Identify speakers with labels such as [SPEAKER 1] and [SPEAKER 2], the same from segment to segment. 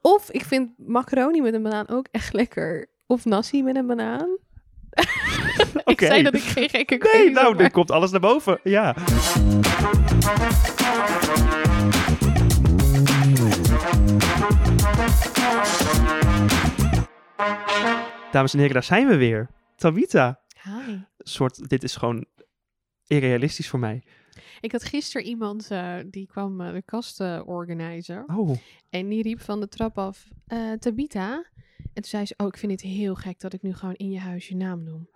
[SPEAKER 1] Of ik vind macaroni met een banaan ook echt lekker. Of nasi met een banaan. Ik
[SPEAKER 2] Oké.
[SPEAKER 1] zei dat ik geen gekke
[SPEAKER 2] Nee,
[SPEAKER 1] keuze
[SPEAKER 2] nou,
[SPEAKER 1] maak.
[SPEAKER 2] dit komt alles naar boven. Ja. Dames en heren, daar zijn we weer. Tabita.
[SPEAKER 1] Hi.
[SPEAKER 2] Soort, dit is gewoon irrealistisch voor mij.
[SPEAKER 1] Ik had gisteren iemand, eh, die kwam eh, de kastenorganizer.
[SPEAKER 2] Oh,
[SPEAKER 1] En die riep van de trap af, eh, Tabita. En toen zei ze, oh, ik vind het heel gek dat ik nu gewoon in je huis je naam noem.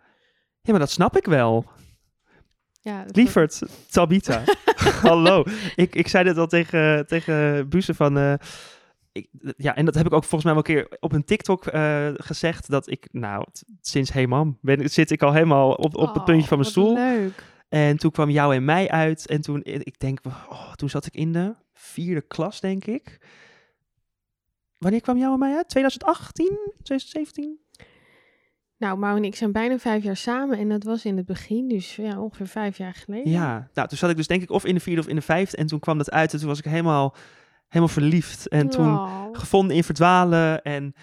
[SPEAKER 2] ja, maar dat snap ik wel.
[SPEAKER 1] Ja, dat-
[SPEAKER 2] Lieverd, Tabita. Hallo. Ik, ik zei dit al tegen, tegen Buze van... eh, ik, ja, en dat heb ik ook volgens mij wel een keer op een TikTok eh, gezegd. Dat ik, nou, t- sinds Hey Mam ben, zit ik al helemaal op, op het
[SPEAKER 1] Oh,
[SPEAKER 2] puntje van
[SPEAKER 1] wat
[SPEAKER 2] mijn stoel.
[SPEAKER 1] leuk.
[SPEAKER 2] En toen kwam jou en mij uit. En toen, eh, ik denk, oh, toen zat ik in de vierde klas, denk ik. Wanneer kwam jou en mij uit? 2018? 2017?
[SPEAKER 1] Nou, Mau en ik zijn bijna vijf jaar samen en dat was in het begin, dus ja, ongeveer vijf jaar geleden.
[SPEAKER 2] Ja, nou, toen zat ik dus denk ik of in de vierde of in de vijfde. En toen kwam dat uit en toen was ik helemaal, helemaal verliefd. En toen
[SPEAKER 1] Oh.
[SPEAKER 2] gevonden in verdwalen. En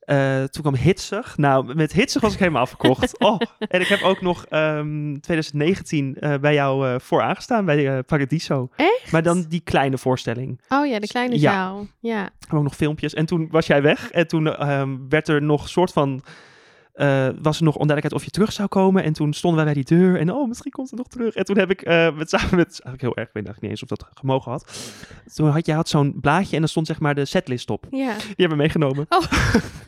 [SPEAKER 2] eh, toen kwam Hitsig. Nou, met Hitsig was ik helemaal afgekocht. Oh, en ik heb ook nog ehm, 2019 eh, bij jou eh voor aangestaan, bij eh Paradiso.
[SPEAKER 1] Echt?
[SPEAKER 2] Maar dan die kleine voorstelling.
[SPEAKER 1] Oh ja, de kleine
[SPEAKER 2] Ja.
[SPEAKER 1] zaal. Ja.
[SPEAKER 2] We hebben ook nog filmpjes. En toen was jij weg. En toen ehm, werd er nog soort van... eh, was er nog onduidelijkheid of je terug zou komen. En toen stonden wij bij die deur. En oh, misschien komt het nog terug. En toen heb ik eh, met, samen met... Eigenlijk heel erg, ik weet eigenlijk niet eens of dat gemogen had. Toen had jij had zo'n blaadje en daar stond zeg maar de setlist op.
[SPEAKER 1] Ja.
[SPEAKER 2] Die hebben we meegenomen.
[SPEAKER 1] Oh.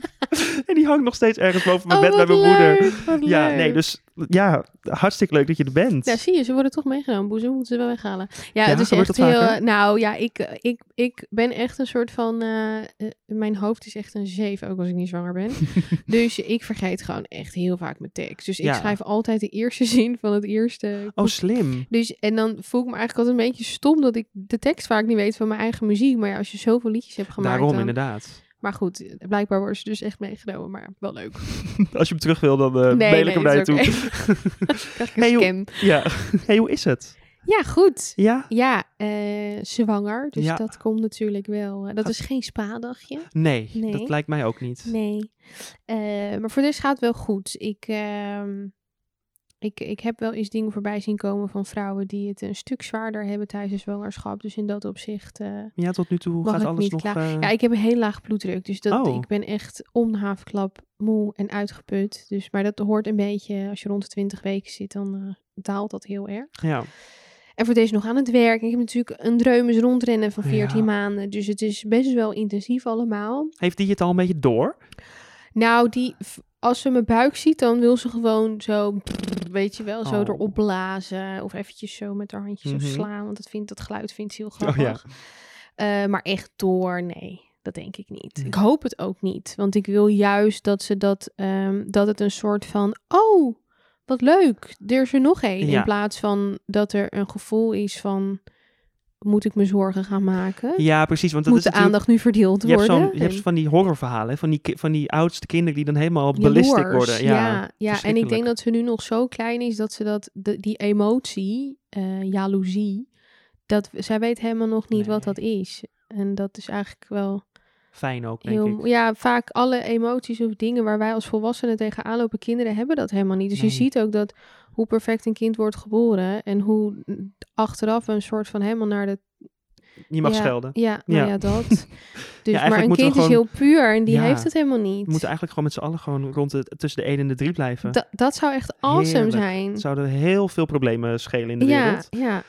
[SPEAKER 2] en die hangt nog steeds ergens boven mijn
[SPEAKER 1] Oh,
[SPEAKER 2] bed bij
[SPEAKER 1] wat
[SPEAKER 2] mijn moeder.
[SPEAKER 1] leuk, wat
[SPEAKER 2] Ja, nee,
[SPEAKER 1] leuk.
[SPEAKER 2] dus ja, hartstikke leuk dat je er bent.
[SPEAKER 1] Ja, zie je, ze worden toch meegenomen. Boezem moeten ze wel weghalen. Ja,
[SPEAKER 2] Ja,
[SPEAKER 1] het is
[SPEAKER 2] gebeurt
[SPEAKER 1] echt
[SPEAKER 2] dat
[SPEAKER 1] heel...
[SPEAKER 2] vaker?
[SPEAKER 1] Nou ja, ik, ik, ik ben echt een soort van... eh, eh, mijn hoofd is echt een zeef, ook als ik niet zwanger ben. dus ik vergeet gewoon echt heel vaak mijn tekst. Dus ik
[SPEAKER 2] Ja.
[SPEAKER 1] schrijf altijd de eerste zin van het eerste...
[SPEAKER 2] Oh, slim.
[SPEAKER 1] Dus, en dan voel ik me eigenlijk altijd een beetje stom dat ik de tekst vaak niet weet van mijn eigen muziek. Maar ja, als je zoveel liedjes hebt gemaakt...
[SPEAKER 2] Daarom,
[SPEAKER 1] dan-
[SPEAKER 2] inderdaad.
[SPEAKER 1] Maar goed, blijkbaar worden ze dus echt meegenomen. Maar wel leuk.
[SPEAKER 2] Als je hem terug wil, dan eh mail ik hem naar je
[SPEAKER 1] dat
[SPEAKER 2] toe.
[SPEAKER 1] is oké. Krijg ik een
[SPEAKER 2] Hey, joh.
[SPEAKER 1] scan.
[SPEAKER 2] Ja. hey, hoe is het?
[SPEAKER 1] Ja, goed.
[SPEAKER 2] Ja?
[SPEAKER 1] Ja, eh, zwanger. Dus
[SPEAKER 2] Ja.
[SPEAKER 1] dat komt natuurlijk wel. eh, dat is geen spa-dagje.
[SPEAKER 2] Nee,
[SPEAKER 1] Nee.
[SPEAKER 2] dat lijkt mij ook niet.
[SPEAKER 1] Nee. Eh, maar voor dit gaat het wel goed. Ik, ehm, ik, ik heb wel eens dingen voorbij zien komen van vrouwen die het een stuk zwaarder hebben tijdens de zwangerschap. Dus in dat opzicht. eh,
[SPEAKER 2] Ja, tot nu toe
[SPEAKER 1] Mag
[SPEAKER 2] gaat
[SPEAKER 1] ik
[SPEAKER 2] alles
[SPEAKER 1] niet
[SPEAKER 2] nog...
[SPEAKER 1] klagen?
[SPEAKER 2] eh,
[SPEAKER 1] ja, ik heb een heel laag bloeddruk. Dus dat,
[SPEAKER 2] Oh.
[SPEAKER 1] ik ben echt om de havenklap moe en uitgeput. Dus, maar dat hoort een beetje. Als je rond de 20 weken zit, dan eh, daalt dat heel erg.
[SPEAKER 2] ja.
[SPEAKER 1] En voor deze nog aan het werk. Ik heb natuurlijk een dreumes rondrennen van 14
[SPEAKER 2] Ja.
[SPEAKER 1] maanden. Dus het is best wel intensief allemaal.
[SPEAKER 2] Heeft die het al een beetje door?
[SPEAKER 1] Nou, die, v- als ze mijn buik ziet, dan wil ze gewoon zo, weet je wel, zo
[SPEAKER 2] Oh.
[SPEAKER 1] erop blazen. Of eventjes zo met haar handjes
[SPEAKER 2] Mhm. Oh,
[SPEAKER 1] zo slaan. Want dat, vindt, dat geluid vindt ze heel
[SPEAKER 2] ja.
[SPEAKER 1] grappig. Eh, maar echt door, nee. Dat denk ik niet.
[SPEAKER 2] Nee.
[SPEAKER 1] Ik hoop het ook niet. Want ik wil juist dat ze dat, ehm, dat het een soort van, oh, wat leuk, er is er nog één.
[SPEAKER 2] Ja.
[SPEAKER 1] In plaats van dat er een gevoel is van, moet ik me zorgen gaan maken?
[SPEAKER 2] Ja, precies. Want dat
[SPEAKER 1] moet de
[SPEAKER 2] is natuurlijk...
[SPEAKER 1] aandacht nu verdeeld
[SPEAKER 2] Je hebt,
[SPEAKER 1] worden?
[SPEAKER 2] zo'n, je hebt
[SPEAKER 1] En-
[SPEAKER 2] van die horrorverhalen, hè, van die, ki- van die oudste kinderen die dan helemaal ballistic
[SPEAKER 1] jaloers.
[SPEAKER 2] worden. Ja,
[SPEAKER 1] ja, ja. en ik
[SPEAKER 2] verschrikkelijk.
[SPEAKER 1] denk dat ze nu nog zo klein is dat ze dat, de- die emotie, eh jaloezie, dat, zij weet helemaal nog niet wat
[SPEAKER 2] Nee.
[SPEAKER 1] dat is. En dat is eigenlijk wel
[SPEAKER 2] fijn ook, denk
[SPEAKER 1] heel...
[SPEAKER 2] ik.
[SPEAKER 1] mo- Ja, vaak alle emoties of dingen waar wij als volwassenen tegenaan lopen, kinderen hebben dat helemaal niet. Dus
[SPEAKER 2] Nee.
[SPEAKER 1] je ziet ook dat hoe perfect een kind wordt geboren en hoe mm, achteraf we een soort van helemaal naar de...
[SPEAKER 2] Je mag
[SPEAKER 1] ja,
[SPEAKER 2] schelden.
[SPEAKER 1] Ja, nou
[SPEAKER 2] Ja.
[SPEAKER 1] ja, dat. Dus, maar
[SPEAKER 2] eigenlijk
[SPEAKER 1] een
[SPEAKER 2] moeten we
[SPEAKER 1] kind is
[SPEAKER 2] gewoon-
[SPEAKER 1] heel puur en die
[SPEAKER 2] Ja.
[SPEAKER 1] heeft het helemaal niet.
[SPEAKER 2] We moeten eigenlijk gewoon met z'n allen gewoon rond de, tussen de 1 en de 3 blijven.
[SPEAKER 1] Da- dat zou echt awesome
[SPEAKER 2] Heerlijk.
[SPEAKER 1] zijn.
[SPEAKER 2] Het zouden heel veel problemen schelen in de
[SPEAKER 1] Ja,
[SPEAKER 2] wereld.
[SPEAKER 1] ja.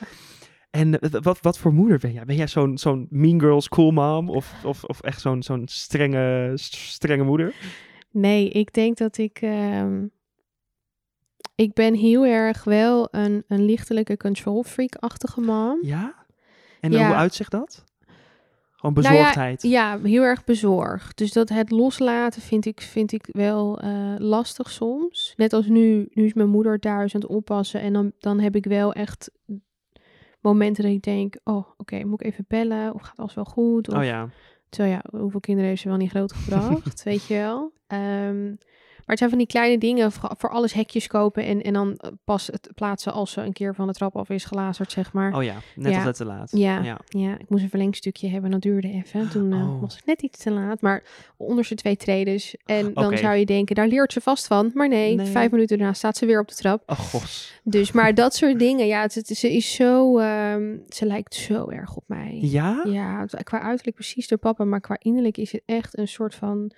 [SPEAKER 2] En eh, wat, wat voor moeder ben jij? Ben jij zo'n, zo'n mean girls cool mom? Of, of, of echt zo'n, zo'n strenge, st- strenge moeder?
[SPEAKER 1] Nee, ik denk dat ik. ehm, ik ben heel erg wel een, een lichtelijke control freak-achtige man.
[SPEAKER 2] Ja? En
[SPEAKER 1] Ja.
[SPEAKER 2] hoe uitzicht dat? Gewoon
[SPEAKER 1] Nou ja,
[SPEAKER 2] bezorgdheid.
[SPEAKER 1] Ja, heel erg bezorgd. Dus dat het loslaten vind ik, vind ik wel eh, lastig soms. Net als nu, nu is mijn moeder thuis aan het oppassen. En dan, dan heb ik wel echt momenten dat ik denk: oh, oké, moet ik even bellen? Of gaat alles wel goed? Of
[SPEAKER 2] Oh ja.
[SPEAKER 1] Terwijl ja, hoeveel kinderen heeft ze wel niet grootgebracht, weet je wel. Ehm, het zijn van die kleine dingen, voor, voor alles hekjes kopen en, en dan eh, pas het plaatsen als ze een keer van de trap af is gelazerd, zeg maar.
[SPEAKER 2] Oh ja, net
[SPEAKER 1] Ja.
[SPEAKER 2] altijd te laat.
[SPEAKER 1] Ja.
[SPEAKER 2] ja.
[SPEAKER 1] Ja, ik moest een verlengstukje hebben. Dat duurde even. Toen eh,
[SPEAKER 2] Oh.
[SPEAKER 1] was het net iets te laat. Maar onder zijn twee tredes. En dan
[SPEAKER 2] Oké.
[SPEAKER 1] zou je denken, daar leert ze vast van. Maar nee,
[SPEAKER 2] Nee.
[SPEAKER 1] vijf minuten daarna staat ze weer op de trap.
[SPEAKER 2] Oh gos.
[SPEAKER 1] Dus, maar dat soort dingen. Ja, het, het- ze is zo... ehm, ze lijkt zo erg op mij.
[SPEAKER 2] Ja?
[SPEAKER 1] Ja, het- qua uiterlijk precies door papa. Maar qua innerlijk is het echt een soort van...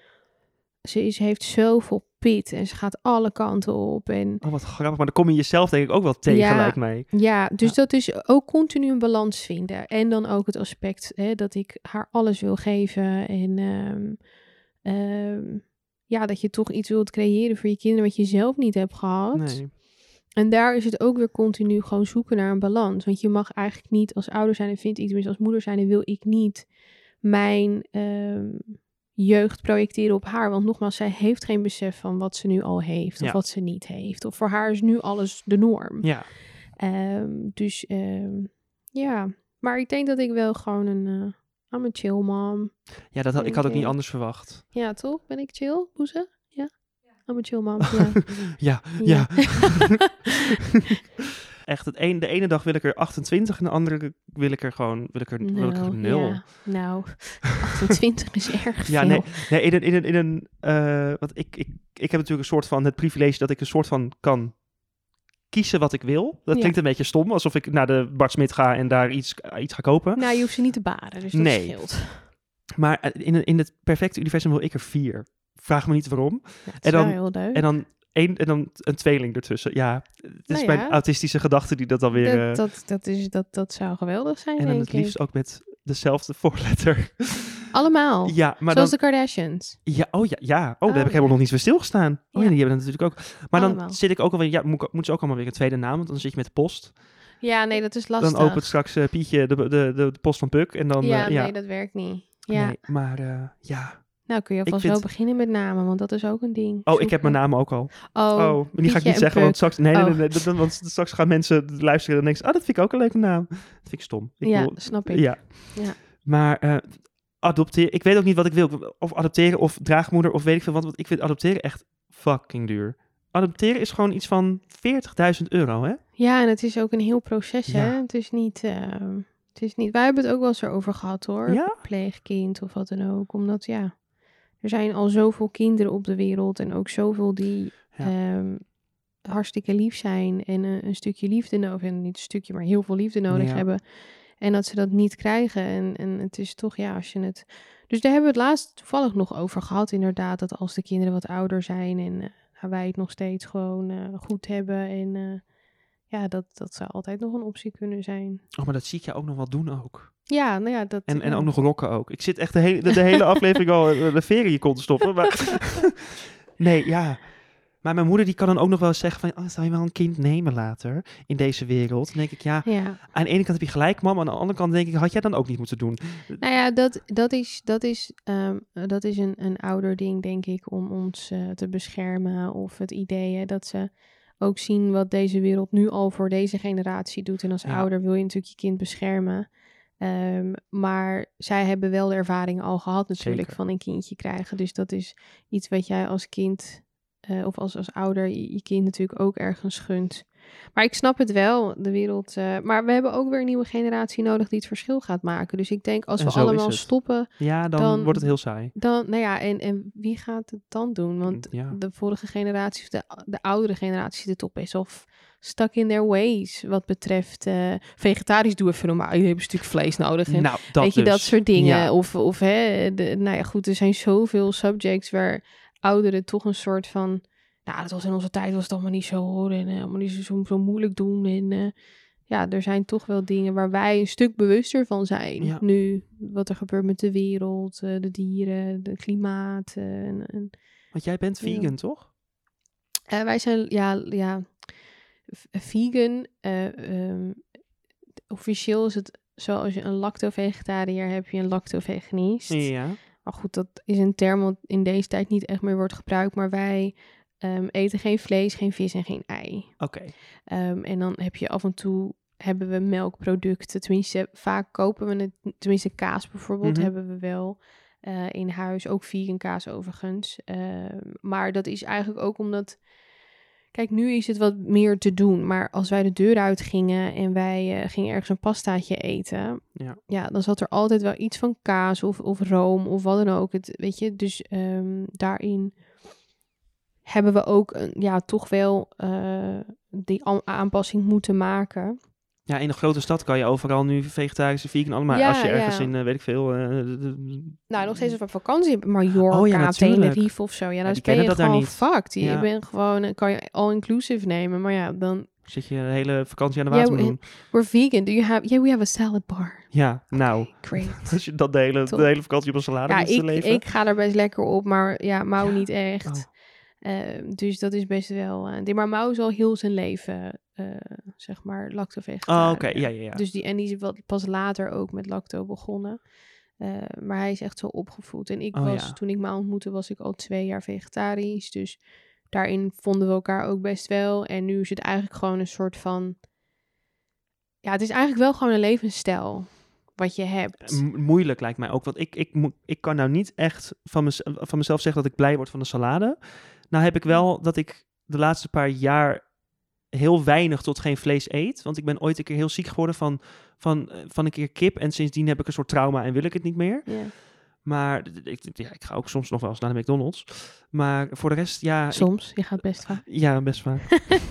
[SPEAKER 1] Ze is, heeft zoveel pit en ze gaat alle kanten op. En
[SPEAKER 2] Oh, wat grappig. Maar dan kom je jezelf denk ik ook wel tegen,
[SPEAKER 1] Ja.
[SPEAKER 2] lijkt mij.
[SPEAKER 1] Ja, dus dat is ook continu een balans vinden. En dan ook het aspect hè, dat ik haar alles wil geven. En ehm, ehm, ja, dat je toch iets wilt creëren voor je kinderen wat je zelf niet hebt gehad.
[SPEAKER 2] Nee.
[SPEAKER 1] En daar is het ook weer continu gewoon zoeken naar een balans. Want je mag eigenlijk niet als ouder zijn, en vind ik tenminste als moeder zijn, en wil ik niet mijn ehm, jeugd projecteren op haar. Want nogmaals, zij heeft geen besef van wat ze nu al heeft of
[SPEAKER 2] Ja.
[SPEAKER 1] wat ze niet heeft. Of voor haar is nu alles de norm.
[SPEAKER 2] Ja.
[SPEAKER 1] Ehm, dus ehm, ja, maar ik denk dat ik wel gewoon een. eh I'm a chill mom.
[SPEAKER 2] Ja, dat had, ik had ook
[SPEAKER 1] Oké.
[SPEAKER 2] niet anders verwacht.
[SPEAKER 1] Ja, toch? Ben ik chill, Boeze? Ja. I'm a chill mom. Ja.
[SPEAKER 2] Ja, ja.
[SPEAKER 1] Ja.
[SPEAKER 2] Echt, het een, de ene dag wil ik er 28 en de andere wil ik er gewoon wil ik er, wil ik er nul.
[SPEAKER 1] ja. Nou, 28 is erg
[SPEAKER 2] Ja,
[SPEAKER 1] veel.
[SPEAKER 2] nee, nee, in een, in een, in een eh, want ik, ik, ik heb natuurlijk een soort van het privilege dat ik een soort van kan kiezen wat ik wil. Dat
[SPEAKER 1] Ja.
[SPEAKER 2] klinkt een beetje stom, alsof ik naar de Bart Smit ga en daar iets, iets ga kopen.
[SPEAKER 1] Nou, je hoeft ze niet te baren, dus dat
[SPEAKER 2] Nee.
[SPEAKER 1] scheelt.
[SPEAKER 2] Maar eh, in, een- in het perfecte universum wil ik er vier. Vraag me niet waarom.
[SPEAKER 1] Ja, het
[SPEAKER 2] En
[SPEAKER 1] Nou, is wel
[SPEAKER 2] dan-
[SPEAKER 1] heel leuk.
[SPEAKER 2] En dan, één, en dan een tweeling ertussen. Ja, het is
[SPEAKER 1] Nou
[SPEAKER 2] mijn
[SPEAKER 1] ja.
[SPEAKER 2] autistische gedachte die dat dan weer...
[SPEAKER 1] dat,
[SPEAKER 2] eh,
[SPEAKER 1] dat, dat, is, dat, dat zou geweldig zijn,
[SPEAKER 2] en dan
[SPEAKER 1] denk
[SPEAKER 2] het liefst
[SPEAKER 1] ik.
[SPEAKER 2] ook met dezelfde voorletter.
[SPEAKER 1] Allemaal.
[SPEAKER 2] Ja, maar
[SPEAKER 1] Oh. Zoals
[SPEAKER 2] dan...
[SPEAKER 1] de Kardashians.
[SPEAKER 2] Ja, oh ja, ja. Oh, daar
[SPEAKER 1] Oh,
[SPEAKER 2] heb ik helemaal
[SPEAKER 1] ja.
[SPEAKER 2] nog niet bij stilgestaan. Oh ja,
[SPEAKER 1] Ja.
[SPEAKER 2] die hebben dat natuurlijk ook. Maar dan
[SPEAKER 1] Allemaal.
[SPEAKER 2] zit ik ook alweer... Ja, moet, ik- moet ze ook allemaal weer een tweede naam, want dan zit je met de post.
[SPEAKER 1] Ja, nee, dat is lastig.
[SPEAKER 2] Dan opent straks eh, Pietje de, de, de, de post van Puk en dan...
[SPEAKER 1] ja,
[SPEAKER 2] eh, ja.
[SPEAKER 1] nee, dat werkt niet. Ja.
[SPEAKER 2] Nee, maar eh, ja.
[SPEAKER 1] Nou, kun je alvast
[SPEAKER 2] vind-
[SPEAKER 1] wel beginnen met namen, want dat is ook een ding.
[SPEAKER 2] Oh, ik heb mijn
[SPEAKER 1] Zoeken.
[SPEAKER 2] naam ook al.
[SPEAKER 1] Oh,
[SPEAKER 2] Oh, maar die ga ik
[SPEAKER 1] Pietje
[SPEAKER 2] niet
[SPEAKER 1] en
[SPEAKER 2] zeggen, want straks, nee, nee,
[SPEAKER 1] Oh.
[SPEAKER 2] nee, nee, dat- dat- want straks gaan mensen luisteren en denken ze, ah, dat vind ik ook een leuke naam. Dat vind ik stom. Ik
[SPEAKER 1] ja,
[SPEAKER 2] wil-
[SPEAKER 1] snap ik.
[SPEAKER 2] ja.
[SPEAKER 1] Ja.
[SPEAKER 2] Maar eh adopteren, ik weet ook niet wat ik wil. Of adopteren of draagmoeder of weet ik veel wat. Want ik vind adopteren echt fucking duur. Adopteren is gewoon iets van 40.000 euro, hè?
[SPEAKER 1] Ja, en het is ook een heel proces, hè?
[SPEAKER 2] Ja.
[SPEAKER 1] Het is niet... ehm, het is niet... Wij hebben het ook wel eens erover gehad, hoor.
[SPEAKER 2] Ja?
[SPEAKER 1] Pleegkind of wat dan ook. Omdat, ja... Er zijn al zoveel kinderen op de wereld en ook zoveel die
[SPEAKER 2] Ja.
[SPEAKER 1] ehm, hartstikke lief zijn en eh, een stukje liefde nodig en niet een stukje, maar heel veel liefde nodig
[SPEAKER 2] Ja.
[SPEAKER 1] hebben. En dat ze dat niet krijgen. En, en het is toch, ja, als je het. Dus daar hebben we het laatst toevallig nog over gehad, inderdaad. Dat als de kinderen wat ouder zijn en eh, wij het nog steeds gewoon eh, goed hebben. En eh, ja, dat, dat zou altijd nog een optie kunnen zijn.
[SPEAKER 2] Oh, maar dat zie ik jou ook nog wel doen ook.
[SPEAKER 1] Ja, nou ja, dat.
[SPEAKER 2] En, en
[SPEAKER 1] ja.
[SPEAKER 2] ook nog rocken ook. Ik zit echt de hele, de, de hele aflevering al eh, de verie kon te stoppen. Maar nee, ja. Maar mijn moeder die kan dan ook nog wel zeggen van... Oh, zou je wel een kind nemen later in deze wereld? Dan denk ik, ja,
[SPEAKER 1] Ja.
[SPEAKER 2] aan de ene kant heb je gelijk, mam. Aan de andere kant denk ik, had jij dan ook niet moeten doen?
[SPEAKER 1] Nou ja, dat, dat is, dat is, ehm, eh, dat is een, een ouder ding, denk ik, om ons eh, te beschermen. Of het idee hè, dat ze ook zien wat deze wereld nu al voor deze generatie doet. En als
[SPEAKER 2] Ja.
[SPEAKER 1] ouder wil je natuurlijk je kind beschermen. Ehm, maar zij hebben wel de ervaring al gehad natuurlijk
[SPEAKER 2] Zeker.
[SPEAKER 1] van een kindje krijgen. Dus dat is iets wat jij als kind eh, of als, als ouder je, je kind natuurlijk ook ergens gunt. Maar ik snap het wel, de wereld. eh, maar we hebben ook weer een nieuwe generatie nodig die het verschil gaat maken. Dus ik denk als
[SPEAKER 2] En
[SPEAKER 1] we
[SPEAKER 2] zo is
[SPEAKER 1] allemaal
[SPEAKER 2] het.
[SPEAKER 1] stoppen,
[SPEAKER 2] Ja, dan,
[SPEAKER 1] Dan-
[SPEAKER 2] wordt het heel saai.
[SPEAKER 1] dan, nou ja, en, en wie gaat het dan doen? Want
[SPEAKER 2] Mm, ja.
[SPEAKER 1] de vorige generatie, of de, de oudere generatie, zit op is of stuck in their ways. Wat betreft eh, vegetarisch, doe even normaal. Jullie hebben een stuk vlees nodig. En
[SPEAKER 2] Nou, dat
[SPEAKER 1] Weet je, dat
[SPEAKER 2] dus.
[SPEAKER 1] soort dingen. eh,
[SPEAKER 2] Ja.
[SPEAKER 1] Of, of hè, de, nou ja, goed, er zijn zoveel subjects waar ouderen toch een soort van... Nou, dat was in onze tijd, was het allemaal niet zo hoor. En eh, allemaal niet zo- zo, zo moeilijk doen. En eh, ja, er zijn toch wel dingen waar wij een stuk bewuster van zijn.
[SPEAKER 2] Ja.
[SPEAKER 1] Nu, wat er gebeurt met de wereld, eh, de dieren, het klimaat. eh, en, en,
[SPEAKER 2] Want jij bent
[SPEAKER 1] Ja.
[SPEAKER 2] vegan, toch?
[SPEAKER 1] eh, wij zijn, ja, ja v- vegan. eh, ehm, officieel is het zo, als je een lacto-vegetariër hebt, je een lacto-veganist.
[SPEAKER 2] Ja.
[SPEAKER 1] Maar goed, dat is een term wat in deze tijd niet echt meer wordt gebruikt. Maar wij ehm, eten geen vlees, geen vis en geen ei.
[SPEAKER 2] Oké.
[SPEAKER 1] Ehm, en dan heb je af en toe hebben we melkproducten. Tenminste, vaak kopen we het. Tenminste, kaas bijvoorbeeld
[SPEAKER 2] Mhm.
[SPEAKER 1] hebben we wel. eh, in huis. Ook vegan kaas overigens. Eh, maar dat is eigenlijk ook omdat... Kijk, nu is het wat meer te doen. Maar als wij de deur uit gingen en wij eh, gingen ergens een pastaatje eten...
[SPEAKER 2] Ja.
[SPEAKER 1] dan zat er altijd wel iets van kaas of, of room of wat dan ook. Het, weet je, dus ehm, daarin hebben we ook een, ja, toch wel eh, die a- aanpassing moeten maken.
[SPEAKER 2] Ja, in een grote stad kan je overal nu vegetarisch en vegan allemaal.
[SPEAKER 1] Ja,
[SPEAKER 2] als je ergens
[SPEAKER 1] ja.
[SPEAKER 2] in, eh, weet ik veel... eh, de- de-
[SPEAKER 1] Nou, nog steeds op een vakantie op Mallorca,
[SPEAKER 2] Mm. Oh ja,
[SPEAKER 1] oh,
[SPEAKER 2] natuurlijk.
[SPEAKER 1] Tenerife of zo. Ja, dan
[SPEAKER 2] die
[SPEAKER 1] ben
[SPEAKER 2] kennen
[SPEAKER 1] je
[SPEAKER 2] dat daar
[SPEAKER 1] gewoon
[SPEAKER 2] niet.
[SPEAKER 1] fucked. Je
[SPEAKER 2] Ja.
[SPEAKER 1] bent gewoon, eh, kan je all-inclusive nemen. Maar ja, dan,
[SPEAKER 2] zit je een hele vakantie aan de
[SPEAKER 1] Ja,
[SPEAKER 2] water
[SPEAKER 1] we-
[SPEAKER 2] doen.
[SPEAKER 1] we're vegan. Do you have, yeah, we have a salad bar.
[SPEAKER 2] Ja, nou.
[SPEAKER 1] Okay, great.
[SPEAKER 2] Als je dat de hele,
[SPEAKER 1] Top.
[SPEAKER 2] de hele vakantie op een salade
[SPEAKER 1] Ja,
[SPEAKER 2] moest
[SPEAKER 1] ik,
[SPEAKER 2] leven.
[SPEAKER 1] ik ga er best lekker op, maar ja, Mau niet echt.
[SPEAKER 2] Oh.
[SPEAKER 1] Eh, dus dat is best wel... eh, dit- maar Mau is al heel zijn leven, eh, zeg maar, lacto-vegetariër.
[SPEAKER 2] Oh, oké. Ja, ja, ja.
[SPEAKER 1] Dus die, en die is wat, pas later ook met lacto begonnen. Eh, maar hij is echt zo opgevoed. En ik
[SPEAKER 2] Oh,
[SPEAKER 1] was,
[SPEAKER 2] ja.
[SPEAKER 1] toen ik me ontmoette, was ik al twee jaar vegetarisch. Dus daarin vonden we elkaar ook best wel. En nu is het eigenlijk gewoon een soort van... Ja, het is eigenlijk wel gewoon een levensstijl wat je hebt.
[SPEAKER 2] M- moeilijk lijkt mij ook. Want ik, ik, mo- ik kan nou niet echt van, mez- van mezelf zeggen dat ik blij word van een salade. Nou heb ik wel dat ik de laatste paar jaar heel weinig tot geen vlees eet. Want ik ben ooit een keer heel ziek geworden van, van, eh, van een keer kip. En sindsdien heb ik een soort trauma en wil ik het niet meer.
[SPEAKER 1] Ja.
[SPEAKER 2] Maar d- d- ik, ja, ik ga ook soms nog wel eens naar de McDonald's. Maar voor de rest, ja... ik-
[SPEAKER 1] Soms, je gaat best vaak.
[SPEAKER 2] ja, best vaak.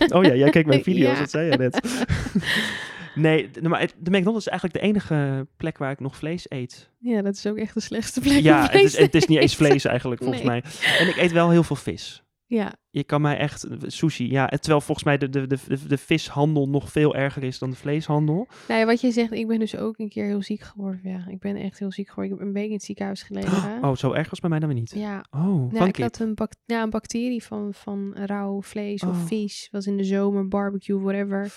[SPEAKER 2] oh ja, jij kijkt mijn video's,
[SPEAKER 1] Ja.
[SPEAKER 2] dat zei jij net. nee, d- maar het- de McDonald's is eigenlijk de enige plek waar ik nog vlees eet.
[SPEAKER 1] Ja, dat is ook echt de slechtste plek. om
[SPEAKER 2] Ja, het
[SPEAKER 1] vlees
[SPEAKER 2] is,
[SPEAKER 1] te
[SPEAKER 2] het is niet eens
[SPEAKER 1] eten.
[SPEAKER 2] vlees eigenlijk, volgens
[SPEAKER 1] Nee.
[SPEAKER 2] mij. En ik eet wel heel veel vis.
[SPEAKER 1] Ja,
[SPEAKER 2] Je kan mij echt... Sushi, ja. Terwijl volgens mij de, de, de, de- de vishandel nog veel erger is dan de vleeshandel.
[SPEAKER 1] nou ja, wat je zegt, ik ben dus ook een keer heel ziek geworden. Ja, ik ben echt heel ziek geworden. Ik heb een week in het ziekenhuis gelegen.
[SPEAKER 2] Oh, zo erg was bij mij dan weer niet.
[SPEAKER 1] Ja,
[SPEAKER 2] Oh,
[SPEAKER 1] nou,
[SPEAKER 2] van
[SPEAKER 1] ik
[SPEAKER 2] kip.
[SPEAKER 1] had een, bac- ja, een bacterie van, van rauw vlees
[SPEAKER 2] Oh.
[SPEAKER 1] of vis. Was in de zomer, barbecue, whatever.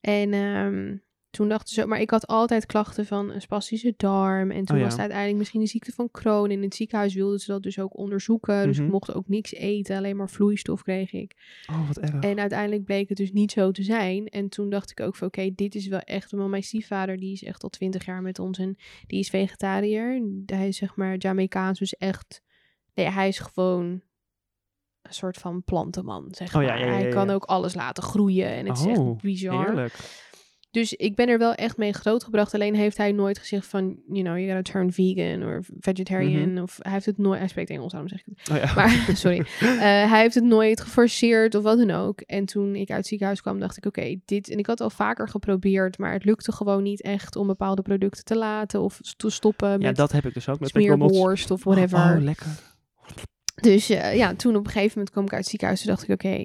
[SPEAKER 1] En ehm, toen dachten ze, maar ik had altijd klachten van een spastische darm. En toen
[SPEAKER 2] Oh ja.
[SPEAKER 1] was het uiteindelijk misschien de ziekte van Crohn. In het ziekenhuis wilden ze dat dus ook onderzoeken. Dus
[SPEAKER 2] Mhm.
[SPEAKER 1] ik mocht ook niks eten, alleen maar vloeistof kreeg ik.
[SPEAKER 2] Oh, wat erg.
[SPEAKER 1] En uiteindelijk bleek het dus niet zo te zijn. En toen dacht ik ook van oké, dit is wel echt. Want mijn stiefvader die is echt al twintig jaar met ons en die is vegetariër. Hij is zeg maar Jamaicaans, dus echt. Nee, hij is gewoon een soort van plantenman, zeg
[SPEAKER 2] Oh,
[SPEAKER 1] maar.
[SPEAKER 2] ja, ja, ja,
[SPEAKER 1] Hij
[SPEAKER 2] ja,
[SPEAKER 1] kan
[SPEAKER 2] ja.
[SPEAKER 1] ook alles laten groeien en het is
[SPEAKER 2] Oh,
[SPEAKER 1] echt bizar.
[SPEAKER 2] Heerlijk.
[SPEAKER 1] Dus ik ben er wel echt mee grootgebracht. Alleen heeft hij nooit gezegd van, you know, you gotta turn vegan of vegetarian.
[SPEAKER 2] Mhm.
[SPEAKER 1] Of hij heeft het nooit, hij spreekt Engels, daarom zeg ik het.
[SPEAKER 2] Oh, ja.
[SPEAKER 1] Maar, sorry. Eh, hij heeft het nooit geforceerd of wat dan ook. En toen ik uit het ziekenhuis kwam, dacht ik, oké, dit... En ik had al vaker geprobeerd, maar het lukte gewoon niet echt om bepaalde producten te laten of s- te stoppen
[SPEAKER 2] ja,
[SPEAKER 1] met
[SPEAKER 2] dat heb ik dus ook met McDonald's.
[SPEAKER 1] smeerworst of whatever.
[SPEAKER 2] Oh, lekker.
[SPEAKER 1] Dus eh, ja, toen op een gegeven moment kwam ik uit het ziekenhuis en dacht ik, oké,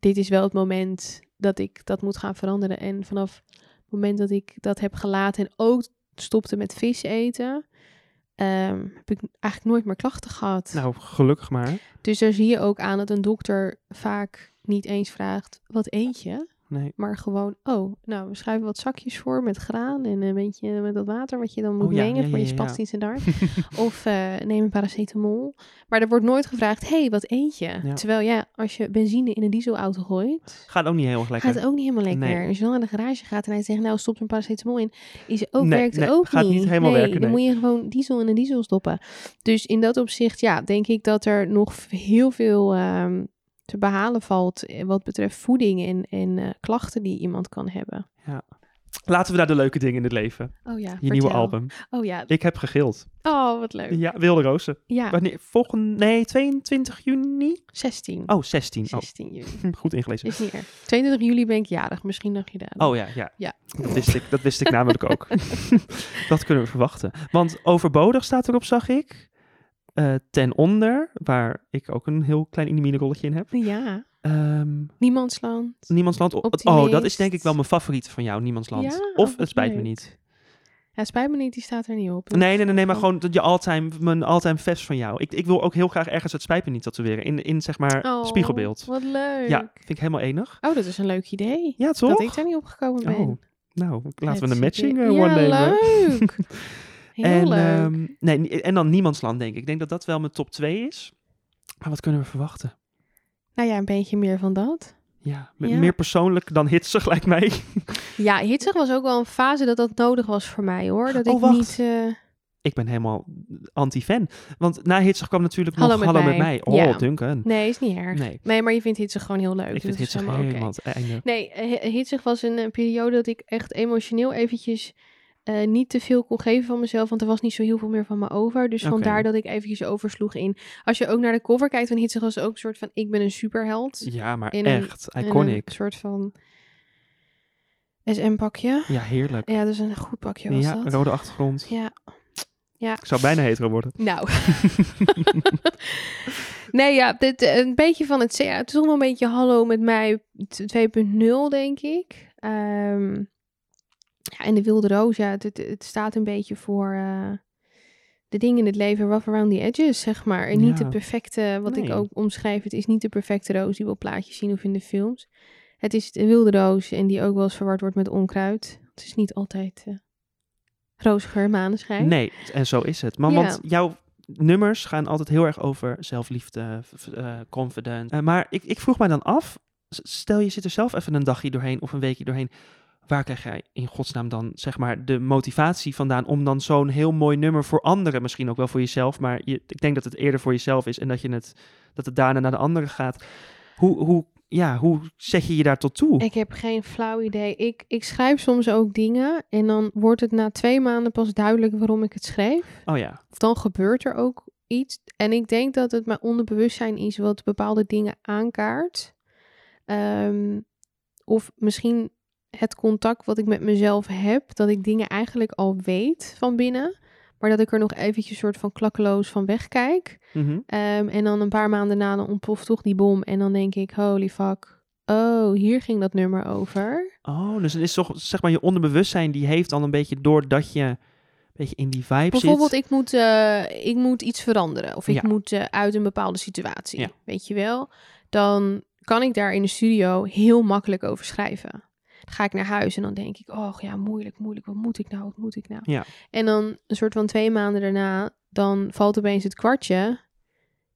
[SPEAKER 1] dit is wel het moment dat ik dat moet gaan veranderen. En vanaf het moment dat ik dat heb gelaten en ook stopte met vis eten, ehm, heb ik eigenlijk nooit meer klachten gehad.
[SPEAKER 2] Nou, gelukkig maar.
[SPEAKER 1] Dus daar zie je ook aan dat een dokter vaak niet eens vraagt: wat eet je?
[SPEAKER 2] Nee.
[SPEAKER 1] Maar gewoon: oh, nou, we schrijven wat zakjes voor met graan en een beetje met dat water wat je dan moet
[SPEAKER 2] Oh ja,
[SPEAKER 1] mengen
[SPEAKER 2] ja,
[SPEAKER 1] voor
[SPEAKER 2] ja,
[SPEAKER 1] je
[SPEAKER 2] ja.
[SPEAKER 1] spastische darm. of eh, neem een paracetamol. Maar er wordt nooit gevraagd: hey, wat eet je?
[SPEAKER 2] Ja.
[SPEAKER 1] Terwijl ja, als je benzine in een dieselauto gooit.
[SPEAKER 2] Gaat ook niet heel erg lekker.
[SPEAKER 1] Gaat het ook niet helemaal lekker.
[SPEAKER 2] Nee.
[SPEAKER 1] Als je dan naar de garage gaat en hij zegt, nou stop er een paracetamol in, is ook,
[SPEAKER 2] Nee,
[SPEAKER 1] werkt
[SPEAKER 2] nee,
[SPEAKER 1] ook
[SPEAKER 2] gaat
[SPEAKER 1] niet.
[SPEAKER 2] niet helemaal
[SPEAKER 1] nee,
[SPEAKER 2] werken,
[SPEAKER 1] Dan
[SPEAKER 2] nee.
[SPEAKER 1] moet je gewoon diesel in een diesel stoppen. Dus in dat opzicht, ja, denk ik dat er nog v- heel veel ehm, te behalen valt eh, wat betreft voeding en, en eh, klachten die iemand kan hebben.
[SPEAKER 2] Laten we naar de leuke dingen in het leven.
[SPEAKER 1] Oh ja,
[SPEAKER 2] Je nieuwe album.
[SPEAKER 1] Oh ja,
[SPEAKER 2] Ik heb gegild.
[SPEAKER 1] oh wat leuk.
[SPEAKER 2] Ja, Wilde Rozen.
[SPEAKER 1] Ja,
[SPEAKER 2] Wanneer? Volgende... Nee, 22 juni?
[SPEAKER 1] 16.
[SPEAKER 2] Oh, 16. Oh,
[SPEAKER 1] 16 juli.
[SPEAKER 2] goed ingelezen.
[SPEAKER 1] Is niet erg. 22 juli ben ik jarig, misschien nog je daar.
[SPEAKER 2] Oh ja, ja.
[SPEAKER 1] Ja.
[SPEAKER 2] Dat, wist ik, dat wist ik namelijk ook. dat kunnen we verwachten. Want overbodig staat erop, zag ik. Eh, ten onder, waar ik ook een heel klein inimine-rolletje in heb.
[SPEAKER 1] Ja,
[SPEAKER 2] Ehm,
[SPEAKER 1] niemandsland.
[SPEAKER 2] Niemandsland. o- Oh,
[SPEAKER 1] Optimist.
[SPEAKER 2] dat is denk ik wel mijn favoriet van jou, Niemandsland.
[SPEAKER 1] Ja,
[SPEAKER 2] of
[SPEAKER 1] wat
[SPEAKER 2] het spijt me
[SPEAKER 1] leuk.
[SPEAKER 2] niet.
[SPEAKER 1] Ja, spijt me niet, die staat er niet op.
[SPEAKER 2] Nee, nee, nee, nee maar gewoon dat je all-time, mijn all-time fest van jou. Ik, ik wil ook heel graag ergens het spijt me niet tatoeëren. In, in zeg maar
[SPEAKER 1] Oh,
[SPEAKER 2] spiegelbeeld.
[SPEAKER 1] Wat leuk.
[SPEAKER 2] Ja, vind ik helemaal enig.
[SPEAKER 1] Oh, dat is een leuk idee.
[SPEAKER 2] Ja, toch?
[SPEAKER 1] Dat ik daar niet op gekomen ben.
[SPEAKER 2] Oh, nou, laten we
[SPEAKER 1] Het
[SPEAKER 2] een matching
[SPEAKER 1] idee-
[SPEAKER 2] eh,
[SPEAKER 1] ja,
[SPEAKER 2] one day doen.
[SPEAKER 1] leuk. Heel
[SPEAKER 2] en,
[SPEAKER 1] leuk.
[SPEAKER 2] ehm, nee, ni- en dan Niemandsland, denk ik. Ik denk dat dat wel mijn top 2 is. Maar wat kunnen we verwachten?
[SPEAKER 1] nou ja, een beetje meer van dat.
[SPEAKER 2] Ja, m-
[SPEAKER 1] Ja.
[SPEAKER 2] meer persoonlijk dan hitsig, lijkt mij.
[SPEAKER 1] Ja, hitsig was ook wel een fase dat dat nodig was voor mij, hoor. Dat
[SPEAKER 2] Oh,
[SPEAKER 1] ik
[SPEAKER 2] wacht.
[SPEAKER 1] niet... eh,
[SPEAKER 2] ik ben helemaal anti-fan. Want na Hitzig kwam natuurlijk
[SPEAKER 1] Hallo
[SPEAKER 2] nog
[SPEAKER 1] met
[SPEAKER 2] Hallo
[SPEAKER 1] mij.
[SPEAKER 2] met mij. Oh,
[SPEAKER 1] Ja.
[SPEAKER 2] Duncan.
[SPEAKER 1] Nee, is niet erg.
[SPEAKER 2] Nee,
[SPEAKER 1] Nee, maar je vindt Hitzig gewoon heel leuk. dus
[SPEAKER 2] ik vind
[SPEAKER 1] dat is
[SPEAKER 2] Hitzig
[SPEAKER 1] helemaal oké.
[SPEAKER 2] helemaal het einde.
[SPEAKER 1] Nee, eh, Hitzig was een, eh, periode dat ik echt emotioneel eventjes eh, niet te veel kon geven van mezelf. Want er was niet zo heel veel meer van me over. Dus
[SPEAKER 2] Oké.
[SPEAKER 1] vandaar dat ik eventjes oversloeg in. Als je ook naar de cover kijkt van Hitzig, was het ook een soort van: ik ben een superheld.
[SPEAKER 2] Ja, maar
[SPEAKER 1] In een-
[SPEAKER 2] echt.
[SPEAKER 1] En
[SPEAKER 2] Iconic.
[SPEAKER 1] Een soort van SM-pakje.
[SPEAKER 2] Ja, heerlijk.
[SPEAKER 1] Ja, dat is een goed pakje was
[SPEAKER 2] Ja,
[SPEAKER 1] dat.
[SPEAKER 2] rode achtergrond.
[SPEAKER 1] Ja,
[SPEAKER 2] Ik zou bijna hetero worden.
[SPEAKER 1] nou. nee, ja, dit, eh, een beetje van het... Ja, het is toch wel een beetje hallo met mij t- 2.0, denk ik. Ehm, ja, en de wilde roos, ja, het, het, het staat een beetje voor... eh, de dingen in het leven rough around the edges, zeg maar. En niet
[SPEAKER 2] Ja.
[SPEAKER 1] de perfecte, wat ik
[SPEAKER 2] Nee.
[SPEAKER 1] ook omschrijf, het is niet de perfecte roos die we op plaatjes zien of in de films. Het is de wilde roos en die ook wel eens verward wordt met onkruid. Het is niet altijd eh roosgeur, maneschijn.
[SPEAKER 2] Nee, en zo is het. Maar
[SPEAKER 1] Ja.
[SPEAKER 2] want jouw nummers gaan altijd heel erg over zelfliefde, v- v- eh, confident. Eh, maar ik, ik vroeg mij dan af, s- stel je zit er zelf even een dagje doorheen of een weekje doorheen. Waar krijg jij in godsnaam dan zeg maar de motivatie vandaan om dan zo'n heel mooi nummer voor anderen, misschien ook wel voor jezelf, maar je, ik denk dat het eerder voor jezelf is en dat, je het, dat het daarna naar de anderen gaat. Hoe, hoe, ja, hoe zeg je je daar tot toe?
[SPEAKER 1] Ik heb geen flauw idee. Ik, ik schrijf soms ook dingen en dan wordt het na twee maanden pas duidelijk waarom ik het schreef.
[SPEAKER 2] Oh ja,
[SPEAKER 1] Of dan gebeurt er ook iets. En ik denk dat het mijn onderbewustzijn is wat bepaalde dingen aankaart. Ehm, of misschien het contact wat ik met mezelf heb, dat ik dingen eigenlijk al weet van binnen. Maar dat ik er nog eventjes soort van klakkeloos van wegkijk.
[SPEAKER 2] Mhm.
[SPEAKER 1] Ehm, en dan een paar maanden na, dan ontploft toch die bom. En dan denk ik, holy fuck. Oh, hier ging dat nummer over.
[SPEAKER 2] Oh, dus het is toch, zeg maar, je onderbewustzijn die heeft al een beetje door dat je een beetje in die vibe
[SPEAKER 1] Bijvoorbeeld,
[SPEAKER 2] zit.
[SPEAKER 1] ik moet, eh, ik moet iets veranderen. Of ik
[SPEAKER 2] Ja.
[SPEAKER 1] moet eh, uit een bepaalde situatie.
[SPEAKER 2] Ja.
[SPEAKER 1] Weet je wel? Dan kan ik daar in de studio heel makkelijk over schrijven. Dan ga ik naar huis en dan denk ik, oh ja, moeilijk, moeilijk. Wat moet ik nou? Wat moet ik nou?
[SPEAKER 2] Ja.
[SPEAKER 1] En dan een soort van twee maanden daarna, dan valt opeens het kwartje.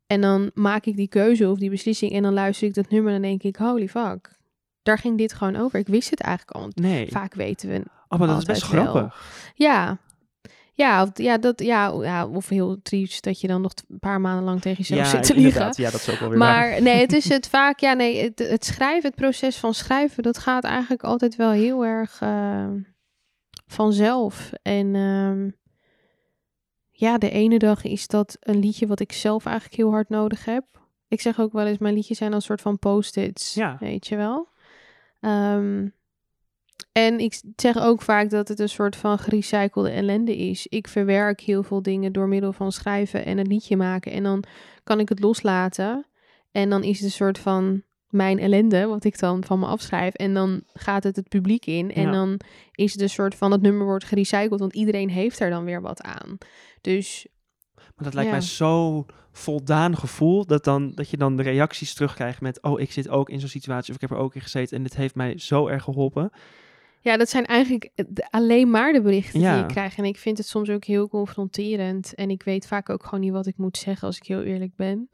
[SPEAKER 1] En dan maak ik die keuze of die beslissing. En dan luister ik dat nummer en dan denk ik, holy fuck. Daar ging dit gewoon over. Ik wist het eigenlijk al. want
[SPEAKER 2] Nee.
[SPEAKER 1] Vaak weten we
[SPEAKER 2] Oh, maar dat is best
[SPEAKER 1] altijd wel.
[SPEAKER 2] grappig.
[SPEAKER 1] ja. Ja, of, ja, dat, ja, o- ja, of heel triest dat je dan nog t- een paar maanden lang tegen jezelf zit te liegen.
[SPEAKER 2] inderdaad. Ja, dat is ook wel weer waar.
[SPEAKER 1] Maar nee, het is het vaak, ja, nee, het, het schrijven, het proces van schrijven, dat gaat eigenlijk altijd wel heel erg eh, vanzelf. En ehm, ja, de ene dag is dat een liedje wat ik zelf eigenlijk heel hard nodig heb. Ik zeg ook wel eens, mijn liedjes zijn als soort van post-its,
[SPEAKER 2] Ja.
[SPEAKER 1] weet je wel. Ehm, en ik zeg ook vaak dat het een soort van gerecyclede ellende is. Ik verwerk heel veel dingen door middel van schrijven en een liedje maken. En dan kan ik het loslaten. En dan is het een soort van mijn ellende, wat ik dan van me afschrijf. En dan gaat het het publiek in. En
[SPEAKER 2] Ja.
[SPEAKER 1] dan is het een soort van, het nummer wordt gerecycled. Want iedereen heeft er dan weer wat aan. Dus
[SPEAKER 2] Maar dat lijkt
[SPEAKER 1] ja.
[SPEAKER 2] mij zo voldaan gevoel dat, dan, dat je dan de reacties terugkrijgt met... oh, ik zit ook in zo'n situatie of ik heb er ook in gezeten... en dit heeft mij zo erg geholpen.
[SPEAKER 1] ja, dat zijn eigenlijk de- alleen maar de berichten
[SPEAKER 2] Ja.
[SPEAKER 1] die ik krijg. En ik vind het soms ook heel confronterend. En ik weet vaak ook gewoon niet wat ik moet zeggen als ik heel eerlijk ben.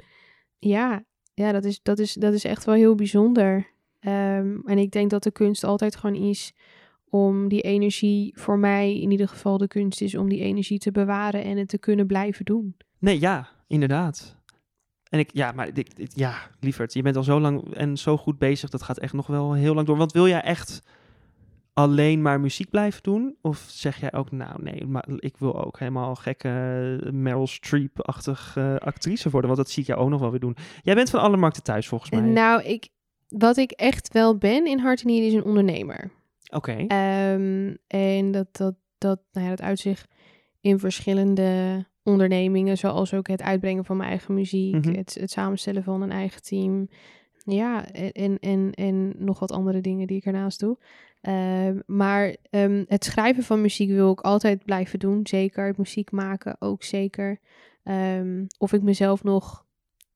[SPEAKER 1] Ja, ja dat, is, dat, is, dat is echt wel heel bijzonder. Ehm, en ik denk dat de kunst altijd gewoon is om die energie, voor mij in ieder geval de kunst is om die energie te bewaren en het te kunnen blijven doen.
[SPEAKER 2] Nee, ja, inderdaad. En ik, ja, maar ik, ik- ja, lieverd, je bent al zo lang en zo goed bezig. Dat gaat echt nog wel heel lang door. Want wil jij echt alleen maar muziek blijven doen? Of zeg jij ook, nou nee, maar ik wil ook helemaal gekke eh, Meryl Streep-achtig eh, actrice worden? Want dat zie ik jou ook nog wel weer doen. Jij bent van alle markten thuis, volgens mij.
[SPEAKER 1] Nou, ik, wat ik echt wel ben in hart en nieren is een ondernemer.
[SPEAKER 2] Oké,
[SPEAKER 1] Ehm, en dat, dat, dat, nou ja, dat uitzicht in verschillende ondernemingen, zoals ook het uitbrengen van mijn eigen muziek,
[SPEAKER 2] Mhm.
[SPEAKER 1] het, het samenstellen van een eigen team. Ja, e, en, en, en nog wat andere dingen die ik ernaast doe. Ehm, maar ehm, het schrijven van muziek wil ik altijd blijven doen, zeker. Het muziek maken ook zeker. Ehm, of ik mezelf nog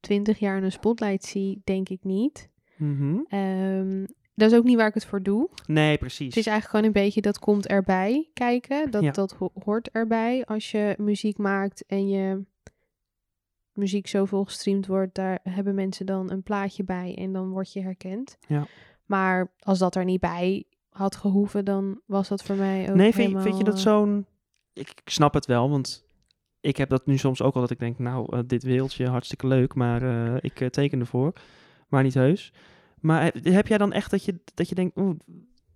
[SPEAKER 1] twintig jaar in een spotlight zie, denk ik niet.
[SPEAKER 2] mhm.
[SPEAKER 1] Ehm, dat is ook niet waar ik het voor doe.
[SPEAKER 2] nee, precies.
[SPEAKER 1] Het is eigenlijk gewoon een beetje dat komt erbij kijken. Dat,
[SPEAKER 2] Ja.
[SPEAKER 1] dat ho- hoort erbij als je muziek maakt en je muziek zoveel gestreamd wordt. Daar hebben mensen dan een plaatje bij en dan word je herkend.
[SPEAKER 2] Ja.
[SPEAKER 1] Maar als dat er niet bij had gehoeven, dan was dat voor mij ook
[SPEAKER 2] nee, vind,
[SPEAKER 1] helemaal,
[SPEAKER 2] vind je dat
[SPEAKER 1] eh,
[SPEAKER 2] zo'n... Ik, ik snap het wel, want ik heb dat nu soms ook al dat ik denk, nou, eh, dit wereldje hartstikke leuk, maar eh, ik eh, teken ervoor. Maar niet heus. Maar heb- heb jij dan echt dat je, dat je denkt, oeh,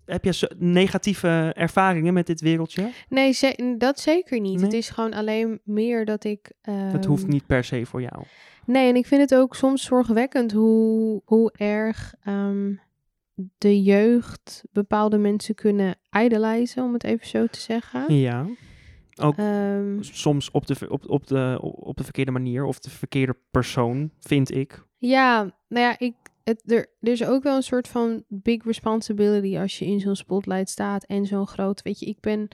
[SPEAKER 2] heb je zo- negatieve ervaringen met dit wereldje?
[SPEAKER 1] Nee, ze- dat zeker niet.
[SPEAKER 2] Nee?
[SPEAKER 1] Het is gewoon alleen meer dat ik...
[SPEAKER 2] Dat
[SPEAKER 1] ehm,
[SPEAKER 2] hoeft niet per se voor jou.
[SPEAKER 1] Nee, en ik vind het ook soms zorgwekkend hoe, hoe erg ehm, de jeugd bepaalde mensen kunnen idolizen, om het even zo te zeggen.
[SPEAKER 2] Ja. ook-
[SPEAKER 1] Ehm,
[SPEAKER 2] Soms op de, ver- op, op, de, op de verkeerde manier of de verkeerde persoon, vind ik.
[SPEAKER 1] ja, nou ja, ik, het, er, er is ook wel een soort van big responsibility als je in zo'n spotlight staat en zo'n groot. Weet je, ik ben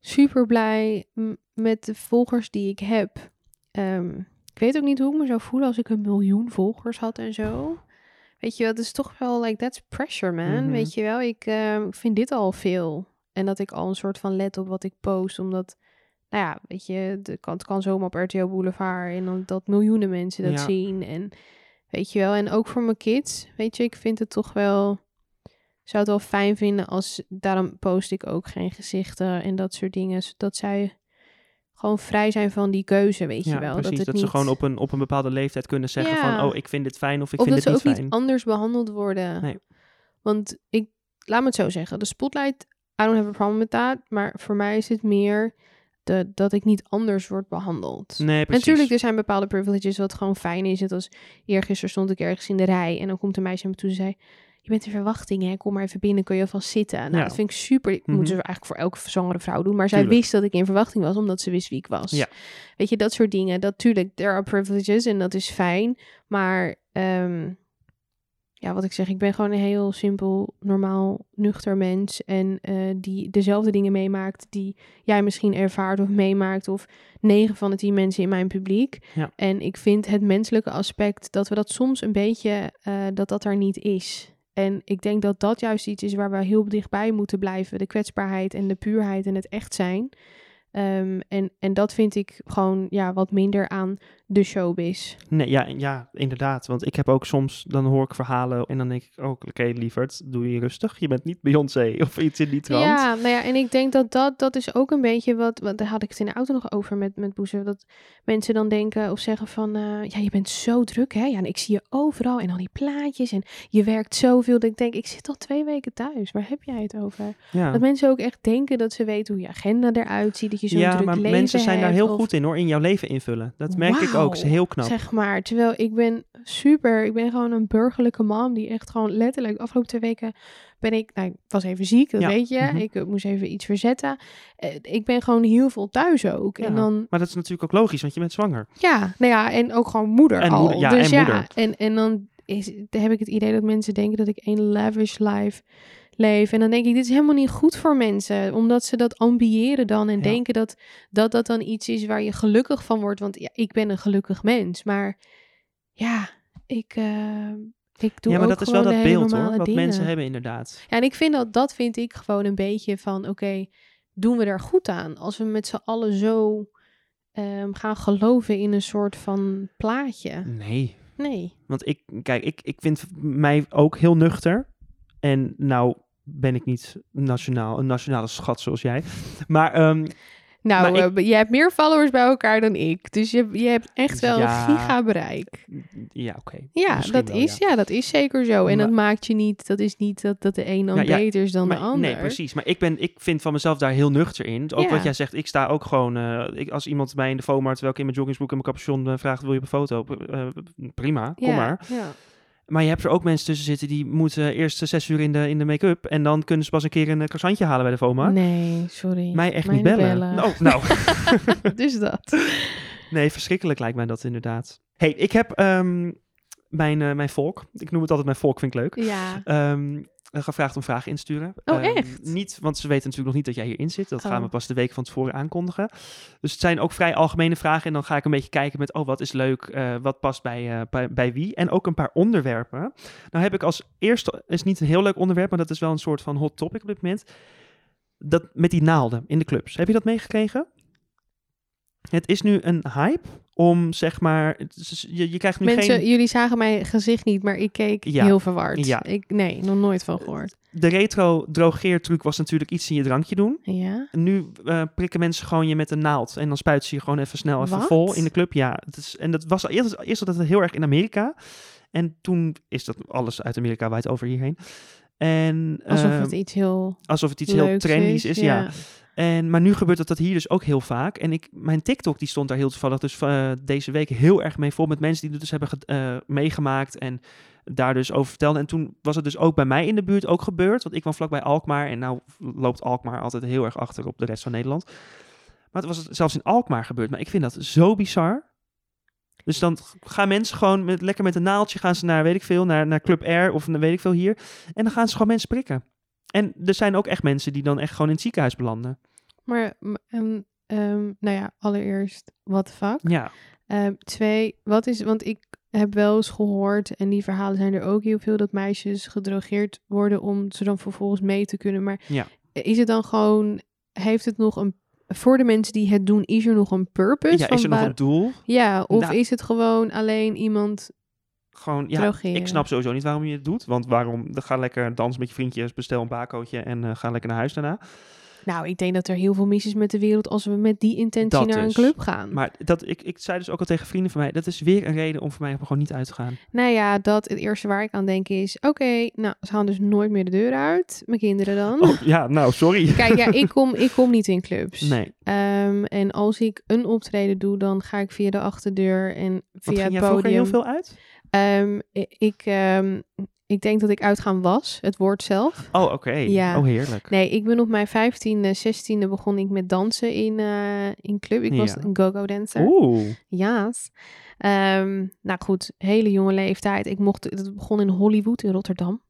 [SPEAKER 1] super blij m- met de volgers die ik heb. Ehm, ik weet ook niet hoe ik me zou voelen als ik een miljoen volgers had en zo. Weet je, dat is toch wel like that's pressure, man.
[SPEAKER 2] Mhm.
[SPEAKER 1] Weet je wel, ik ehm, ik vind dit al veel. En dat ik al een soort van let op wat ik post, omdat, nou ja, weet je, de kan, het kan zomaar op RTL Boulevard en dan dat miljoenen mensen dat
[SPEAKER 2] Ja.
[SPEAKER 1] zien. En weet je wel, en ook voor mijn kids, weet je, ik vind het toch wel, ik zou het wel fijn vinden als, daarom post ik ook geen gezichten en dat soort dingen, zodat zij gewoon vrij zijn van die keuze, weet je
[SPEAKER 2] ja,
[SPEAKER 1] wel.
[SPEAKER 2] precies.
[SPEAKER 1] dat
[SPEAKER 2] Dat,
[SPEAKER 1] het
[SPEAKER 2] ze
[SPEAKER 1] niet-
[SPEAKER 2] gewoon op een, op een bepaalde leeftijd kunnen zeggen
[SPEAKER 1] Ja.
[SPEAKER 2] van, oh, ik vind dit fijn of ik
[SPEAKER 1] of
[SPEAKER 2] vind
[SPEAKER 1] dat
[SPEAKER 2] dit
[SPEAKER 1] ze
[SPEAKER 2] niet
[SPEAKER 1] ook
[SPEAKER 2] fijn.
[SPEAKER 1] niet anders behandeld worden.
[SPEAKER 2] Nee.
[SPEAKER 1] Want ik, laat me het zo zeggen, de spotlight, I don't have a problem with that. Maar voor mij is het meer de, dat ik niet anders word behandeld.
[SPEAKER 2] nee,
[SPEAKER 1] En
[SPEAKER 2] precies.
[SPEAKER 1] Natuurlijk, er zijn bepaalde privileges wat gewoon fijn is. Net als eergisteren stond ik ergens in de rij en dan komt een meisje naar me toe en zei... Je bent in verwachting, hè? Kom maar even binnen, kun je alvast zitten. Nou,
[SPEAKER 2] Ja.
[SPEAKER 1] dat vind ik super. Ik
[SPEAKER 2] Mhm.
[SPEAKER 1] moet ze eigenlijk voor elke zwangere vrouw doen. Maar zij
[SPEAKER 2] Tuurlijk.
[SPEAKER 1] wist dat ik in verwachting was, omdat ze wist wie ik was.
[SPEAKER 2] Ja.
[SPEAKER 1] Weet je, dat soort dingen. Dat tuurlijk, there are privileges en dat is fijn. Maar ehm, ja, wat ik zeg, ik ben gewoon een heel simpel, normaal, nuchter mens. En eh, die dezelfde dingen meemaakt die jij misschien ervaart of meemaakt. Of negen van de tien mensen in mijn publiek.
[SPEAKER 2] Ja.
[SPEAKER 1] En ik vind het menselijke aspect dat we dat soms een beetje, eh, dat dat er niet is. En ik denk dat dat juist iets is waar we heel dichtbij moeten blijven. De kwetsbaarheid en de puurheid en het echt zijn. Ehm, en, en dat vind ik gewoon ja, wat minder aan de showbiz.
[SPEAKER 2] Nee, ja, ja, inderdaad. Want ik heb ook soms, dan hoor ik verhalen en dan denk ik ook, oké lieverd, doe je rustig. Je bent niet Beyoncé of iets in die trant.
[SPEAKER 1] Ja, nou ja, en ik denk dat dat, dat is ook een beetje wat, want daar had ik het in de auto nog over met, met Boezem, dat mensen dan denken of zeggen van, eh, ja, je bent zo druk, hè? Ja, en ik zie je overal en al die plaatjes en je werkt zoveel, dat ik denk, ik zit al twee weken thuis, waar heb jij het over?
[SPEAKER 2] Ja.
[SPEAKER 1] Dat mensen ook echt denken dat ze weten hoe je agenda eruit ziet, dat je zo'n
[SPEAKER 2] Ja,
[SPEAKER 1] druk
[SPEAKER 2] maar
[SPEAKER 1] leven
[SPEAKER 2] mensen zijn daar
[SPEAKER 1] hebt,
[SPEAKER 2] heel
[SPEAKER 1] of-
[SPEAKER 2] goed in hoor, in jouw leven invullen. Dat merk ik ook, is
[SPEAKER 1] Wauw.
[SPEAKER 2] heel knap.
[SPEAKER 1] Zeg maar, terwijl ik ben super, ik ben gewoon een burgerlijke man die echt gewoon letterlijk de afgelopen twee weken ben ik, nou ik was even ziek, dat
[SPEAKER 2] Ja,
[SPEAKER 1] weet je,
[SPEAKER 2] mhm.
[SPEAKER 1] ik eh, moest even iets verzetten. Eh, ik ben gewoon heel veel thuis ook en
[SPEAKER 2] Ja.
[SPEAKER 1] dan,
[SPEAKER 2] Maar dat is natuurlijk ook logisch, want je bent zwanger.
[SPEAKER 1] ja, nou ja, en ook gewoon moeder
[SPEAKER 2] En
[SPEAKER 1] al.
[SPEAKER 2] moeder, ja,
[SPEAKER 1] dus
[SPEAKER 2] en
[SPEAKER 1] ja,
[SPEAKER 2] moeder.
[SPEAKER 1] En, en dan is, dan heb ik het idee dat mensen denken dat ik een lavish life leef. En dan denk ik, dit is helemaal niet goed voor mensen. Omdat ze dat ambiëren dan en
[SPEAKER 2] Ja.
[SPEAKER 1] denken dat, dat dat dan iets is waar je gelukkig van wordt. Want ja, ik ben een gelukkig mens. Maar ja, ik, eh, ik doe
[SPEAKER 2] ja, maar
[SPEAKER 1] ook
[SPEAKER 2] dat is wel
[SPEAKER 1] gewoon
[SPEAKER 2] dat
[SPEAKER 1] de hele
[SPEAKER 2] beeld hoor,
[SPEAKER 1] normale
[SPEAKER 2] wat
[SPEAKER 1] dingen.
[SPEAKER 2] mensen hebben inderdaad.
[SPEAKER 1] Ja, en ik vind dat, dat vind ik gewoon een beetje van, oké, doen we daar goed aan? Als we met z'n allen zo ehm, gaan geloven in een soort van plaatje.
[SPEAKER 2] Nee,
[SPEAKER 1] Nee.
[SPEAKER 2] want ik, kijk, ik, ik vind mij ook heel nuchter. En nou ben ik niet nationaal, een nationale schat zoals jij. Maar ehm,
[SPEAKER 1] Nou,
[SPEAKER 2] Maar
[SPEAKER 1] eh, jij hebt meer followers bij elkaar dan ik. Dus je, je hebt echt wel
[SPEAKER 2] Ja.
[SPEAKER 1] een gigabereik.
[SPEAKER 2] ja, oké.
[SPEAKER 1] Ja,
[SPEAKER 2] Misschien
[SPEAKER 1] dat
[SPEAKER 2] wel,
[SPEAKER 1] is, ja. dat is zeker zo. En
[SPEAKER 2] Maar-
[SPEAKER 1] dat maakt je niet, dat is niet dat, dat de een dan
[SPEAKER 2] Nou ja,
[SPEAKER 1] beter is dan de
[SPEAKER 2] Maar-
[SPEAKER 1] ander.
[SPEAKER 2] Nee, precies. Maar ik, ben, ik vind van mezelf daar heel nuchter in. Ook
[SPEAKER 1] Ja.
[SPEAKER 2] wat jij zegt, ik sta ook gewoon... eh, ik, als iemand mij in de FOMAR, terwijl ik in mijn joggingsbroek en mijn capuchon eh, vraagt... wil je op een foto? P- eh, prima, kom
[SPEAKER 1] ja,
[SPEAKER 2] maar.
[SPEAKER 1] Ja.
[SPEAKER 2] Maar je hebt er ook mensen tussen zitten die moeten eerst eh, zes uur in de, in de make-up... en dan kunnen ze pas een keer een eh, croissantje halen bij de FOMAR.
[SPEAKER 1] Nee, sorry.
[SPEAKER 2] Mij echt niet bellen. Oh, nou,
[SPEAKER 1] dus dat.
[SPEAKER 2] nee, verschrikkelijk lijkt mij dat inderdaad. hey, ik heb ehm, mijn, eh, mijn volk... Ik noem het altijd mijn volk, vind ik leuk.
[SPEAKER 1] Ja.
[SPEAKER 2] ehm, gevraagd om vragen in te sturen.
[SPEAKER 1] Oh,
[SPEAKER 2] Ehm,
[SPEAKER 1] echt?
[SPEAKER 2] Niet, want ze weten natuurlijk nog niet dat jij hierin zit. Dat
[SPEAKER 1] Oh.
[SPEAKER 2] gaan we pas de week van tevoren aankondigen. Dus het zijn ook vrij algemene vragen. En dan ga ik een beetje kijken met, oh, wat is leuk? eh, wat past bij, eh, bij, bij wie? En ook een paar onderwerpen. Nou heb ik als eerste, is niet een heel leuk onderwerp, maar dat is wel een soort van hot topic op dit moment. Dat met die naalden in de clubs. Heb je dat meegekregen? Het is nu een hype om, zeg maar, het is- je, je krijgt nu
[SPEAKER 1] Mensen,
[SPEAKER 2] geen...
[SPEAKER 1] jullie zagen mijn gezicht niet, maar ik keek
[SPEAKER 2] Ja.
[SPEAKER 1] heel verward.
[SPEAKER 2] Ja.
[SPEAKER 1] Ik, nee, nog nooit van gehoord.
[SPEAKER 2] de retro drogeertruc was natuurlijk iets in je drankje doen.
[SPEAKER 1] Ja.
[SPEAKER 2] En nu eh, prikken mensen gewoon je met een naald. En dan spuiten ze je gewoon even snel even
[SPEAKER 1] Wat?
[SPEAKER 2] vol in de club. Ja, het is, en dat was al eerst, eerst was dat heel erg in Amerika. En toen is dat alles uit Amerika wijd over hierheen. En,
[SPEAKER 1] Alsof
[SPEAKER 2] eh,
[SPEAKER 1] het iets heel
[SPEAKER 2] alsof het iets heel
[SPEAKER 1] leuks
[SPEAKER 2] trendy is. ja.
[SPEAKER 1] ja.
[SPEAKER 2] En, maar nu gebeurt dat, dat hier dus ook heel vaak. En ik, mijn TikTok die stond daar heel toevallig dus eh, deze week heel erg mee vol. Met mensen die het dus hebben ge- eh, meegemaakt en daar dus over vertelden. En toen was het dus ook bij mij in de buurt ook gebeurd. Want ik kwam vlakbij Alkmaar en nou loopt Alkmaar altijd heel erg achter op de rest van Nederland. Maar het was zelfs in Alkmaar gebeurd. Maar ik vind dat zo bizar. Dus dan gaan mensen gewoon met, lekker met een naaldje gaan ze naar, weet ik veel, naar, naar Club Air of naar, weet ik veel hier. En dan gaan ze gewoon mensen prikken. En er zijn ook echt mensen die dan echt gewoon in het ziekenhuis belanden.
[SPEAKER 1] Maar, m- en, ehm, nou ja, allereerst, what the fuck?
[SPEAKER 2] Ja.
[SPEAKER 1] Ehm, twee, wat is, want ik heb wel eens gehoord, en die verhalen zijn er ook heel veel, dat meisjes gedrogeerd worden om ze dan vervolgens mee te kunnen. Maar
[SPEAKER 2] Ja.
[SPEAKER 1] is het dan gewoon, heeft het nog een, voor de mensen die het doen, is er nog een purpose?
[SPEAKER 2] ja,
[SPEAKER 1] van
[SPEAKER 2] is er nog
[SPEAKER 1] waar-
[SPEAKER 2] een doel?
[SPEAKER 1] Ja, of
[SPEAKER 2] Nou.
[SPEAKER 1] is het gewoon alleen iemand
[SPEAKER 2] Gewoon, ja,
[SPEAKER 1] drogeren?
[SPEAKER 2] ik snap sowieso niet waarom je het doet. Want waarom, dan ga lekker dansen met je vriendjes, bestel een bakootje en eh, ga lekker naar huis daarna.
[SPEAKER 1] Nou, ik denk dat er heel veel mis is met de wereld als we met die intentie
[SPEAKER 2] Dat
[SPEAKER 1] naar een
[SPEAKER 2] dus.
[SPEAKER 1] club gaan.
[SPEAKER 2] Maar dat, ik, ik zei dus ook al tegen vrienden van mij, dat is weer een reden om voor mij om gewoon niet uit te gaan.
[SPEAKER 1] Nou ja, dat het eerste waar ik aan denk is: oké, nou, ze gaan dus nooit meer de deur uit. Mijn kinderen dan.
[SPEAKER 2] Oh, ja, nou, sorry.
[SPEAKER 1] Kijk, ja, ik kom, ik kom niet in clubs.
[SPEAKER 2] Nee,
[SPEAKER 1] Ehm, en als ik een optreden doe, dan ga ik via de achterdeur en
[SPEAKER 2] want
[SPEAKER 1] via
[SPEAKER 2] ging
[SPEAKER 1] het
[SPEAKER 2] jij vroeger heel
[SPEAKER 1] podium.
[SPEAKER 2] veel uit?
[SPEAKER 1] Ehm, i- ik, ehm, ik denk dat ik uitgaan was, het woord zelf.
[SPEAKER 2] Oh, oké.
[SPEAKER 1] Ja.
[SPEAKER 2] Oh, heerlijk.
[SPEAKER 1] Nee, ik ben op mijn 15e, 16e begon ik met dansen in, eh, in club. Ik was
[SPEAKER 2] Ja.
[SPEAKER 1] een go-go dancer.
[SPEAKER 2] Oeh,
[SPEAKER 1] Ja. nou goed, hele jonge leeftijd. Ik mocht, het begon in Hollywood in Rotterdam.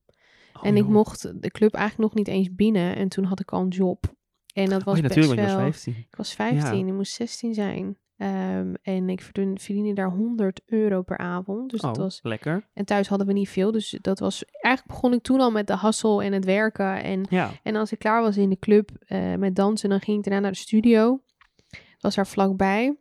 [SPEAKER 2] Oh,
[SPEAKER 1] en ik
[SPEAKER 2] joh.
[SPEAKER 1] mocht de club eigenlijk nog niet eens binnen. En toen had ik al een job. En dat was
[SPEAKER 2] oh, ja,
[SPEAKER 1] best
[SPEAKER 2] natuurlijk, je
[SPEAKER 1] wel...
[SPEAKER 2] was 15.
[SPEAKER 1] Ik was 15,
[SPEAKER 2] Ja.
[SPEAKER 1] ik moest 16 zijn. Ehm, en ik verdien- verdiende daar 100 euro per avond. Dus
[SPEAKER 2] Oh,
[SPEAKER 1] dat was,
[SPEAKER 2] lekker.
[SPEAKER 1] en thuis hadden we niet veel. Dus dat was, eigenlijk begon ik toen al met de hassel en het werken. En,
[SPEAKER 2] Ja,
[SPEAKER 1] en als ik klaar was in de club eh, met dansen, dan ging ik daarna naar de studio. Het was daar vlakbij.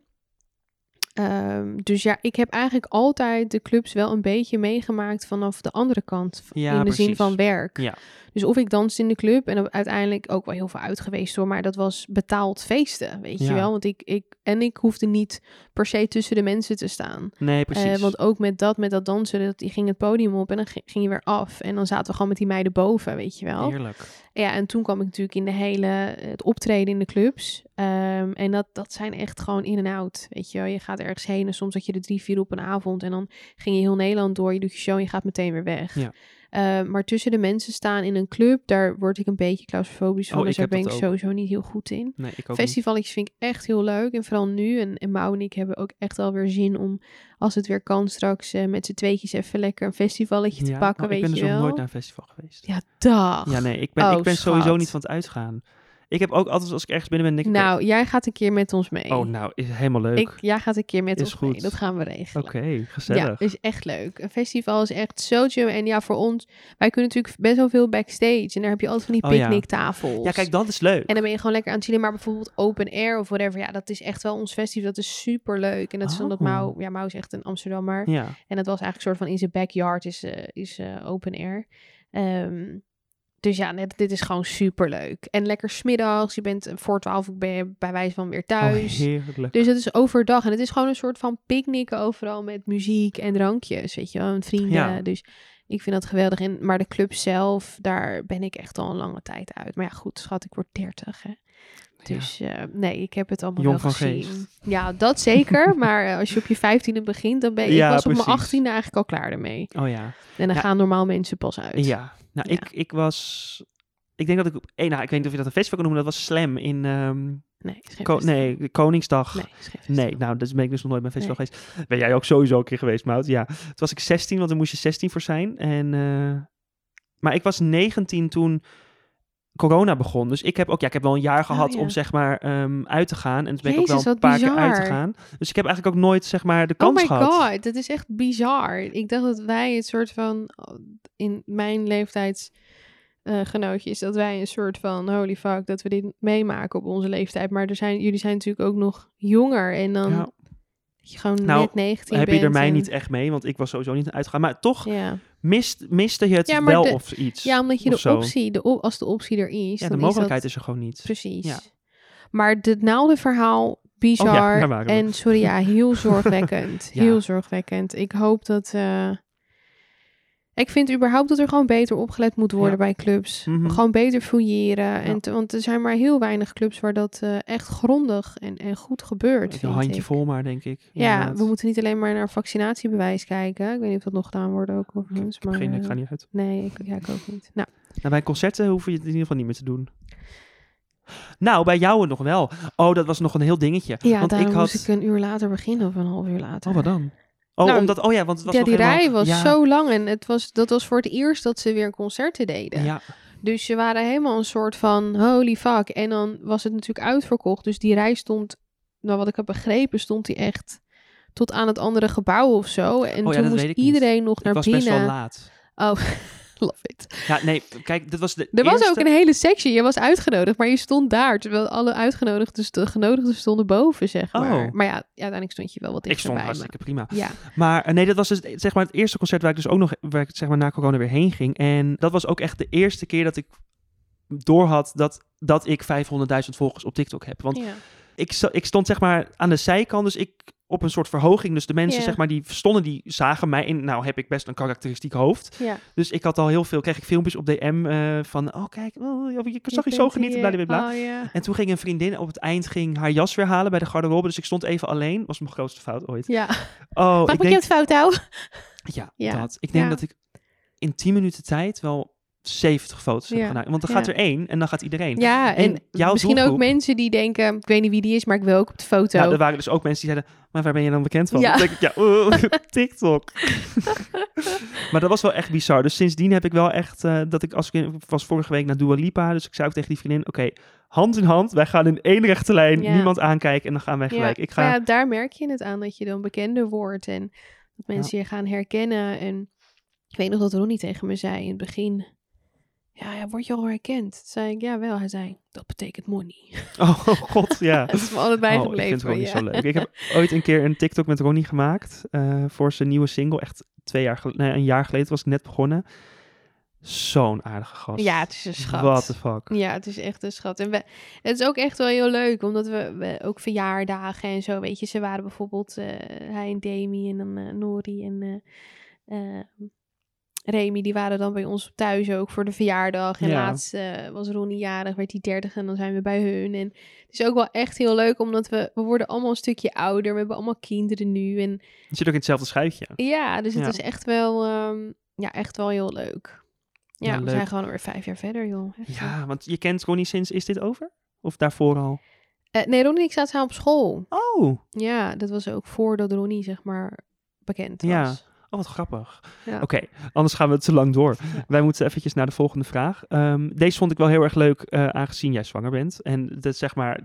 [SPEAKER 1] Ehm, dus ja, ik heb eigenlijk altijd de clubs wel een beetje meegemaakt vanaf de andere kant. v-
[SPEAKER 2] Ja,
[SPEAKER 1] in de zin
[SPEAKER 2] precies.
[SPEAKER 1] van werk.
[SPEAKER 2] Ja.
[SPEAKER 1] Dus of ik danste in de club en dan uiteindelijk ook wel heel veel uit geweest hoor. Maar dat was betaald feesten, weet je
[SPEAKER 2] Ja.
[SPEAKER 1] wel. Want ik, ik, en ik hoefde niet per se tussen de mensen te staan.
[SPEAKER 2] nee,
[SPEAKER 1] Eh,
[SPEAKER 2] precies.
[SPEAKER 1] want ook met dat, met dat dansen, dat, die ging het podium op en dan ging, ging je weer af. En dan zaten we gewoon met die meiden boven, weet je wel.
[SPEAKER 2] Heerlijk.
[SPEAKER 1] Ja, en toen kwam ik natuurlijk in de hele, het optreden in de clubs. Ehm, en dat, dat zijn echt gewoon in en out, weet je wel. Je gaat ergens heen en soms had je er drie, vier op een avond. En dan ging je heel Nederland door, je doet je show en je gaat meteen weer weg.
[SPEAKER 2] Ja.
[SPEAKER 1] Ehm, maar tussen de mensen staan in een club, daar word ik een beetje claustrofobisch van.
[SPEAKER 2] Oh,
[SPEAKER 1] dus
[SPEAKER 2] ik
[SPEAKER 1] daar
[SPEAKER 2] heb
[SPEAKER 1] ben ik
[SPEAKER 2] dat ook.
[SPEAKER 1] sowieso niet heel goed in.
[SPEAKER 2] Nee, ik ook niet.
[SPEAKER 1] Festivaletjes vind ik echt heel leuk. En vooral nu. En, en Mau en ik hebben ook echt alweer zin om, als het weer kan straks, eh, met z'n tweetjes even lekker een festivalletje te
[SPEAKER 2] Ja,
[SPEAKER 1] pakken,
[SPEAKER 2] oh,
[SPEAKER 1] weet
[SPEAKER 2] ik ben
[SPEAKER 1] je
[SPEAKER 2] dus nog
[SPEAKER 1] wel.
[SPEAKER 2] nooit naar een festival geweest.
[SPEAKER 1] Ja, dag.
[SPEAKER 2] Ja, nee, ik ben,
[SPEAKER 1] Oh,
[SPEAKER 2] ik ben sowieso
[SPEAKER 1] schat.
[SPEAKER 2] niet van het uitgaan. Ik heb ook altijd als ik ergens binnen ben, denk ik...
[SPEAKER 1] nou, jij gaat een keer met ons mee.
[SPEAKER 2] Oh, nou, is helemaal leuk.
[SPEAKER 1] ik, jij gaat een keer met
[SPEAKER 2] Is
[SPEAKER 1] ons mee.
[SPEAKER 2] goed.
[SPEAKER 1] Dat gaan we regelen.
[SPEAKER 2] Oké, gezellig.
[SPEAKER 1] Ja, is echt leuk. Een festival is echt zo chill. En ja, voor ons, wij kunnen natuurlijk best wel veel backstage. En daar heb je altijd van die
[SPEAKER 2] Oh, ja.
[SPEAKER 1] picknicktafels.
[SPEAKER 2] Ja, kijk, dat is leuk.
[SPEAKER 1] En dan ben je gewoon lekker aan het chillen. Maar bijvoorbeeld open air of whatever. Ja, dat is echt wel ons festival. Dat is super leuk. En dat is omdat
[SPEAKER 2] Oh.
[SPEAKER 1] Mau... Ja, Mau is echt een Amsterdammer.
[SPEAKER 2] Ja, Oh,
[SPEAKER 1] En dat was eigenlijk een soort van in zijn backyard is, eh, is eh, open air. Ehm, dus ja, net, dit is gewoon super leuk. En lekker smiddags. Je bent eh, voor twaalf ben je bij wijze van weer
[SPEAKER 2] oh,
[SPEAKER 1] thuis.
[SPEAKER 2] heerlijk.
[SPEAKER 1] dus het is overdag. En het is gewoon een soort van picknicken overal met muziek en drankjes. Weet je wel, en vrienden.
[SPEAKER 2] Ja.
[SPEAKER 1] Dus ik vind dat geweldig. En, maar de club zelf, daar ben ik echt al een lange tijd uit. Maar ja, goed, schat, ik word 30. Hè.
[SPEAKER 2] Ja.
[SPEAKER 1] Dus eh, nee, ik heb het allemaal
[SPEAKER 2] Jong
[SPEAKER 1] wel
[SPEAKER 2] van
[SPEAKER 1] gezien.
[SPEAKER 2] geest.
[SPEAKER 1] Ja, dat zeker. maar eh, als je op je vijftiende begint, dan ben je...
[SPEAKER 2] Ja,
[SPEAKER 1] ik was op mijn
[SPEAKER 2] precies.
[SPEAKER 1] achttiende eigenlijk al klaar ermee.
[SPEAKER 2] Oh ja.
[SPEAKER 1] En dan
[SPEAKER 2] Ja.
[SPEAKER 1] gaan normaal mensen pas uit.
[SPEAKER 2] Ja. Nou,
[SPEAKER 1] Ja.
[SPEAKER 2] Ik, ik was... Ik denk dat ik op één... Nou, ik weet niet of je dat een festival kan noemen. Dat was Slam in... ehm,
[SPEAKER 1] Nee, is geen
[SPEAKER 2] Ko-
[SPEAKER 1] festival.
[SPEAKER 2] nee, de Koningsdag.
[SPEAKER 1] Nee, is geen festival.
[SPEAKER 2] Nee, nou, dat ben ik dus nog nooit bij een festival geweest. Ben jij ook sowieso een keer geweest, Mout? Ja. Toen was ik 16, want daar moest je 16 voor zijn. En, eh, maar ik was 19 toen corona begon. Dus ik heb ook, ja, ik heb wel een jaar gehad
[SPEAKER 1] Oh, ja.
[SPEAKER 2] om zeg maar ehm, uit te gaan. En toen ben ik ook
[SPEAKER 1] Jezus,
[SPEAKER 2] wel een
[SPEAKER 1] wat
[SPEAKER 2] paar keer uit te
[SPEAKER 1] bizar.
[SPEAKER 2] gaan. Dus ik heb eigenlijk ook nooit zeg maar de
[SPEAKER 1] Oh
[SPEAKER 2] kans
[SPEAKER 1] my
[SPEAKER 2] gehad.
[SPEAKER 1] god, dat is echt bizar. Ik dacht dat wij het soort van, eh, in mijn leeftijdsgenootjes, dat wij een soort van, holy fuck, dat we dit meemaken op onze leeftijd. Maar er zijn, jullie zijn natuurlijk ook nog jonger. En dan,
[SPEAKER 2] Ja.
[SPEAKER 1] Dat je gewoon
[SPEAKER 2] Nou,
[SPEAKER 1] net 19
[SPEAKER 2] heb je er
[SPEAKER 1] bent
[SPEAKER 2] mij
[SPEAKER 1] en-
[SPEAKER 2] niet echt mee, want ik was sowieso niet uitgegaan. Maar toch
[SPEAKER 1] Ja,
[SPEAKER 2] mist, miste je het
[SPEAKER 1] Ja, maar
[SPEAKER 2] wel
[SPEAKER 1] de-
[SPEAKER 2] of iets.
[SPEAKER 1] ja omdat je
[SPEAKER 2] of
[SPEAKER 1] de
[SPEAKER 2] zo.
[SPEAKER 1] optie, de, op- als de optie er is,
[SPEAKER 2] Ja,
[SPEAKER 1] dan
[SPEAKER 2] de
[SPEAKER 1] is
[SPEAKER 2] mogelijkheid
[SPEAKER 1] dat-
[SPEAKER 2] is, er gewoon niet.
[SPEAKER 1] Precies.
[SPEAKER 2] Ja.
[SPEAKER 1] Maar het naaldenverhaal,
[SPEAKER 2] Oh ja,
[SPEAKER 1] bizar.
[SPEAKER 2] daar waren we.
[SPEAKER 1] en sorry, ja, heel zorgwekkend.
[SPEAKER 2] Ja.
[SPEAKER 1] Heel zorgwekkend. Ik hoop dat... eh, ik vind überhaupt dat er gewoon beter opgelet moet worden
[SPEAKER 2] Ja.
[SPEAKER 1] bij clubs.
[SPEAKER 2] Mhm.
[SPEAKER 1] Gewoon beter fouilleren. En te- want er zijn maar heel weinig clubs waar dat eh, echt grondig en, en goed gebeurt.
[SPEAKER 2] Een
[SPEAKER 1] vind
[SPEAKER 2] handje
[SPEAKER 1] ik.
[SPEAKER 2] vol maar, denk ik.
[SPEAKER 1] Ja,
[SPEAKER 2] Inderdaad.
[SPEAKER 1] we moeten niet alleen maar naar vaccinatiebewijs kijken. Ik weet niet of dat nog gedaan wordt ook.
[SPEAKER 2] Ik,
[SPEAKER 1] overigens,
[SPEAKER 2] ik heb
[SPEAKER 1] maar,
[SPEAKER 2] geen, ik
[SPEAKER 1] eh,
[SPEAKER 2] ga niet uit.
[SPEAKER 1] Nee, ik, ja, ik ook niet. Nou,
[SPEAKER 2] Nou, bij concerten hoef je het in ieder geval niet meer te doen. Nou, bij jou nog wel. Oh, dat was nog een heel dingetje.
[SPEAKER 1] ja,
[SPEAKER 2] want ik
[SPEAKER 1] daarom
[SPEAKER 2] had...
[SPEAKER 1] moest ik een uur later beginnen of een half uur later.
[SPEAKER 2] Oh, wat dan? Oh,
[SPEAKER 1] Nou,
[SPEAKER 2] omdat... Oh ja, want het was
[SPEAKER 1] ja,
[SPEAKER 2] nog
[SPEAKER 1] die
[SPEAKER 2] helemaal-
[SPEAKER 1] rij was
[SPEAKER 2] Ja,
[SPEAKER 1] zo lang en het was, dat was voor het eerst dat ze weer concerten deden.
[SPEAKER 2] Ja,
[SPEAKER 1] Dus ze waren helemaal een soort van holy fuck. En dan was het natuurlijk uitverkocht. Dus die rij stond, nou wat ik heb begrepen, stond die echt tot aan het andere gebouw of zo. En
[SPEAKER 2] Oh ja, dat
[SPEAKER 1] toen moest
[SPEAKER 2] weet ik niet.
[SPEAKER 1] iedereen nog
[SPEAKER 2] het
[SPEAKER 1] naar
[SPEAKER 2] was best wel
[SPEAKER 1] binnen.
[SPEAKER 2] laat.
[SPEAKER 1] Oh, love it.
[SPEAKER 2] Ja, nee, kijk, dit was de
[SPEAKER 1] Er was ook
[SPEAKER 2] eerste-
[SPEAKER 1] een hele sectie. Je was uitgenodigd, maar je stond daar. Terwijl alle uitgenodigden, dus de genodigden stonden boven, zeg maar.
[SPEAKER 2] Oh.
[SPEAKER 1] maar ja, uiteindelijk stond je wel wat
[SPEAKER 2] Ik stond
[SPEAKER 1] dichterbij.
[SPEAKER 2] hartstikke prima.
[SPEAKER 1] maar- Ja,
[SPEAKER 2] Maar eh, nee, dat was dus eh, zeg maar het eerste concert waar ik dus ook nog waar ik, zeg maar, na corona weer heen ging. En dat was ook echt de eerste keer dat ik doorhad dat, dat ik 500.000 volgers op TikTok heb. Want
[SPEAKER 1] ja.
[SPEAKER 2] ik, sta- ik stond zeg maar aan de zijkant, dus ik op een soort verhoging. Dus de mensen
[SPEAKER 1] Ja.
[SPEAKER 2] zeg maar die stonden, die zagen mij. En nou heb ik best een karakteristiek hoofd.
[SPEAKER 1] ja.
[SPEAKER 2] Dus ik had al heel veel, kreeg ik filmpjes op DM eh, van, oh kijk, oh, je zag je zo
[SPEAKER 1] bent
[SPEAKER 2] genieten,
[SPEAKER 1] hier.
[SPEAKER 2] blablabla.
[SPEAKER 1] Oh, ja.
[SPEAKER 2] En toen ging een vriendin op het eind ging haar jas weer halen bij de garderobe. Dus ik stond even alleen. Was mijn grootste fout ooit.
[SPEAKER 1] Ja,
[SPEAKER 2] Oh,
[SPEAKER 1] pak
[SPEAKER 2] ik
[SPEAKER 1] me
[SPEAKER 2] denk,
[SPEAKER 1] het fout houden.
[SPEAKER 2] ja,
[SPEAKER 1] Ja.
[SPEAKER 2] dat. Ik denk
[SPEAKER 1] Ja.
[SPEAKER 2] dat ik in 10 minuten tijd wel 70 foto's heb
[SPEAKER 1] Ja.
[SPEAKER 2] gemaakt. Want dan gaat
[SPEAKER 1] Ja.
[SPEAKER 2] er één en dan gaat iedereen.
[SPEAKER 1] Ja, en,
[SPEAKER 2] en jouw
[SPEAKER 1] misschien ook
[SPEAKER 2] doelgroep-
[SPEAKER 1] mensen die denken, ik weet niet wie die is, maar ik wil ook op de foto.
[SPEAKER 2] Nou, er waren dus ook mensen die zeiden, maar waar ben je dan bekend van?
[SPEAKER 1] Ja.
[SPEAKER 2] Dan denk ik, ja, oeh, TikTok. maar dat was wel echt bizar. Dus sindsdien heb ik wel echt, eh, dat ik als ik in- was vorige week naar Dua Lipa, dus ik zei ook tegen die vriendin, oké, hand in hand, wij gaan in één rechte lijn,
[SPEAKER 1] Ja.
[SPEAKER 2] niemand aankijken en dan gaan wij gelijk.
[SPEAKER 1] Ja,
[SPEAKER 2] Ik ga,
[SPEAKER 1] maar ja, daar merk je het aan dat je dan bekender wordt en dat mensen je gaan herkennen. En ik weet nog dat Ronnie tegen me zei in het begin, ja, ja word je al herkend? Toen zei ik, ja wel. Hij zei, dat betekent money.
[SPEAKER 2] oh god, ja.
[SPEAKER 1] dat is me altijd bijgebleven.
[SPEAKER 2] Oh, ik vind Ronnie
[SPEAKER 1] ja.
[SPEAKER 2] zo leuk. Ik heb ooit een keer een TikTok met Ronnie gemaakt eh, voor zijn nieuwe single. Echt twee jaar geleden, nee, een jaar geleden was ik net begonnen. Zo'n aardige gast.
[SPEAKER 1] Ja, het is een schat. Mm.
[SPEAKER 2] What the fuck.
[SPEAKER 1] Ja, het is echt een schat. En we, het is ook echt wel heel leuk, omdat we, we ook verjaardagen en zo, weet je, ze waren bijvoorbeeld eh, hij en Demi en dan eh, Nori en eh, eh, Remy, die waren dan bij ons thuis ook voor de verjaardag. En
[SPEAKER 2] Ja.
[SPEAKER 1] laatst eh, was Ronnie jarig, werd hij 30 en dan zijn we bij hun. En het is ook wel echt heel leuk, omdat we, we worden allemaal een stukje ouder, we hebben allemaal kinderen nu. En
[SPEAKER 2] Je zit ook in hetzelfde schuitje.
[SPEAKER 1] ja, dus het
[SPEAKER 2] Ja.
[SPEAKER 1] is echt wel, ehm, ja, echt wel heel leuk. Ja,
[SPEAKER 2] Ja,
[SPEAKER 1] we
[SPEAKER 2] leuk.
[SPEAKER 1] zijn gewoon weer vijf jaar verder, joh. Echt, hè?
[SPEAKER 2] Ja, want je kent Ronnie sinds Is Dit Over? Of daarvoor al?
[SPEAKER 1] Eh, nee, Ronnie en ik zaten samen op school.
[SPEAKER 2] Oh, oh
[SPEAKER 1] Ja, dat was ook voordat Ronnie, zeg maar, bekend was.
[SPEAKER 2] Ja. Oh, wat grappig.
[SPEAKER 1] Ja.
[SPEAKER 2] Oké, anders gaan we te lang door. Wij moeten eventjes naar de volgende vraag. Ehm, deze vond ik wel heel erg leuk, eh, aangezien jij zwanger bent. En dat, zeg maar,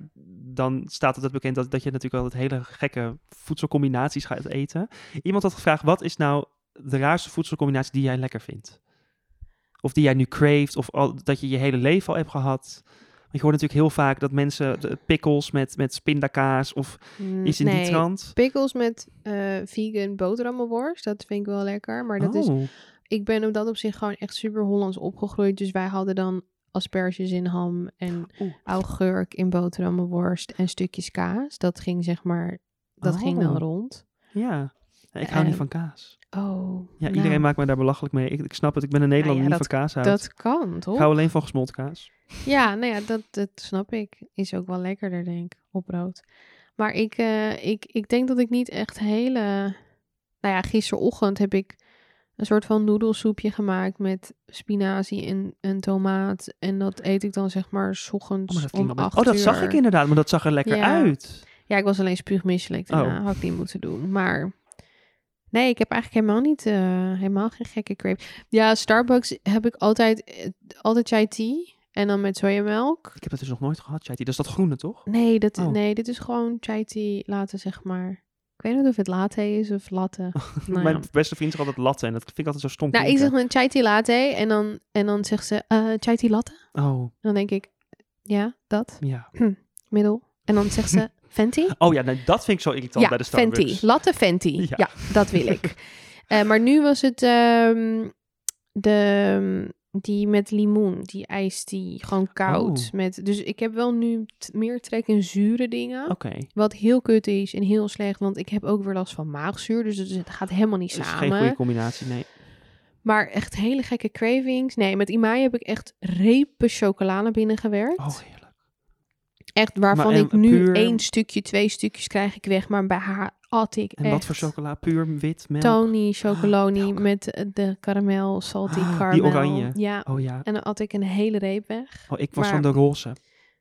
[SPEAKER 2] dan staat het bekend dat, dat je natuurlijk altijd hele gekke voedselcombinaties gaat eten. Iemand had gevraagd, wat is nou de raarste voedselcombinatie die jij lekker vindt? Of die jij nu craeft, of al, dat je je hele leven al hebt gehad? Want je hoort natuurlijk heel vaak dat mensen de pickles met, met spindakaas of
[SPEAKER 1] Mm,
[SPEAKER 2] iets in
[SPEAKER 1] nee.
[SPEAKER 2] die trant.
[SPEAKER 1] Pickles met eh, vegan boterhammenworst, dat vind ik wel lekker. Maar dat is,
[SPEAKER 2] Oh.
[SPEAKER 1] ik ben op dat opzicht gewoon echt super Hollands opgegroeid. Dus wij hadden dan asperges in ham en
[SPEAKER 2] Oeh.
[SPEAKER 1] augurk in boterhammenworst en stukjes kaas. Dat ging zeg maar, dat ging dan
[SPEAKER 2] Oh.
[SPEAKER 1] rond.
[SPEAKER 2] Ja, Ja, ik hou niet
[SPEAKER 1] Eh,
[SPEAKER 2] van kaas.
[SPEAKER 1] Oh,
[SPEAKER 2] Ja,
[SPEAKER 1] nou,
[SPEAKER 2] iedereen maakt me daar belachelijk mee. Ik, ik snap het, ik ben een Nederlander
[SPEAKER 1] ja,
[SPEAKER 2] die van kaas houdt.
[SPEAKER 1] dat kan toch?
[SPEAKER 2] Ik hou alleen van gesmolten kaas.
[SPEAKER 1] Ja, nou ja, dat, dat snap ik. Is ook wel lekkerder, denk ik, op brood. Maar ik, eh, ik, ik denk dat ik niet echt hele... Nou ja, gisterochtend heb ik een soort van noedelsoepje gemaakt met spinazie en, en tomaat. En dat eet ik dan zeg maar 's ochtends
[SPEAKER 2] Oh, maar dat
[SPEAKER 1] om
[SPEAKER 2] klinkt wel-
[SPEAKER 1] acht
[SPEAKER 2] Oh, dat
[SPEAKER 1] uur.
[SPEAKER 2] zag ik inderdaad, maar dat zag er lekker
[SPEAKER 1] Ja.
[SPEAKER 2] uit.
[SPEAKER 1] Ja, ik was alleen spuugmisselijk. Daarna
[SPEAKER 2] Oh.
[SPEAKER 1] had ik niet moeten doen. Maar nee, ik heb eigenlijk helemaal niet, eh, helemaal geen gekke crepe. Ja, Starbucks heb ik altijd, eh, altijd chai tea. En dan met sojamelk.
[SPEAKER 2] Ik heb dat dus nog nooit gehad, Chaiti. Dat is dat groene, toch?
[SPEAKER 1] Nee, dat,
[SPEAKER 2] Oh.
[SPEAKER 1] nee, dit is gewoon chai tea latte, zeg maar. Ik weet niet of het latte is of latte. Nou, ja.
[SPEAKER 2] Mijn beste vriend zegt altijd latte en dat vind ik altijd zo stom
[SPEAKER 1] nou ik zeg
[SPEAKER 2] klinken.
[SPEAKER 1] een chai tea latte en dan, en dan zegt ze eh chai tea latte.
[SPEAKER 2] Oh,
[SPEAKER 1] En dan denk ik, ja, dat,
[SPEAKER 2] ja.
[SPEAKER 1] middel. En dan zegt ze Fenty?
[SPEAKER 2] Oh ja, nou, dat vind ik zo irritant bij de Starbucks.
[SPEAKER 1] Fenty. Latte Fenty.
[SPEAKER 2] Ja.
[SPEAKER 1] Ja, dat wil ik. Eh, maar nu was het ehm, de, die met limoen, die ijs die gewoon koud.
[SPEAKER 2] Oh.
[SPEAKER 1] Met, dus ik heb wel nu t- meer trek in zure dingen.
[SPEAKER 2] Oké. Dus
[SPEAKER 1] Wat heel kut is en heel slecht, want ik heb ook weer last van maagzuur. Dus het- het gaat helemaal niet
[SPEAKER 2] Dat is geen
[SPEAKER 1] samen.
[SPEAKER 2] goede combinatie, nee.
[SPEAKER 1] Maar echt hele gekke cravings. Nee, met Imai heb ik echt repen chocola naar binnen gewerkt.
[SPEAKER 2] Oh, heerlijk.
[SPEAKER 1] Echt waarvan
[SPEAKER 2] Maar en
[SPEAKER 1] ik nu
[SPEAKER 2] puur-
[SPEAKER 1] één stukje, twee stukjes krijg ik weg. Maar bij haar at ik
[SPEAKER 2] En
[SPEAKER 1] echt
[SPEAKER 2] wat voor chocola? Puur wit, melk?
[SPEAKER 1] Tony chocoloni
[SPEAKER 2] melk.
[SPEAKER 1] met eh, de karamel, salty
[SPEAKER 2] Ah, die
[SPEAKER 1] caramel.
[SPEAKER 2] oranje.
[SPEAKER 1] Ja,
[SPEAKER 2] Oh ja.
[SPEAKER 1] en dan at ik een hele reep weg.
[SPEAKER 2] Oh, ik was
[SPEAKER 1] Maar-
[SPEAKER 2] van de roze.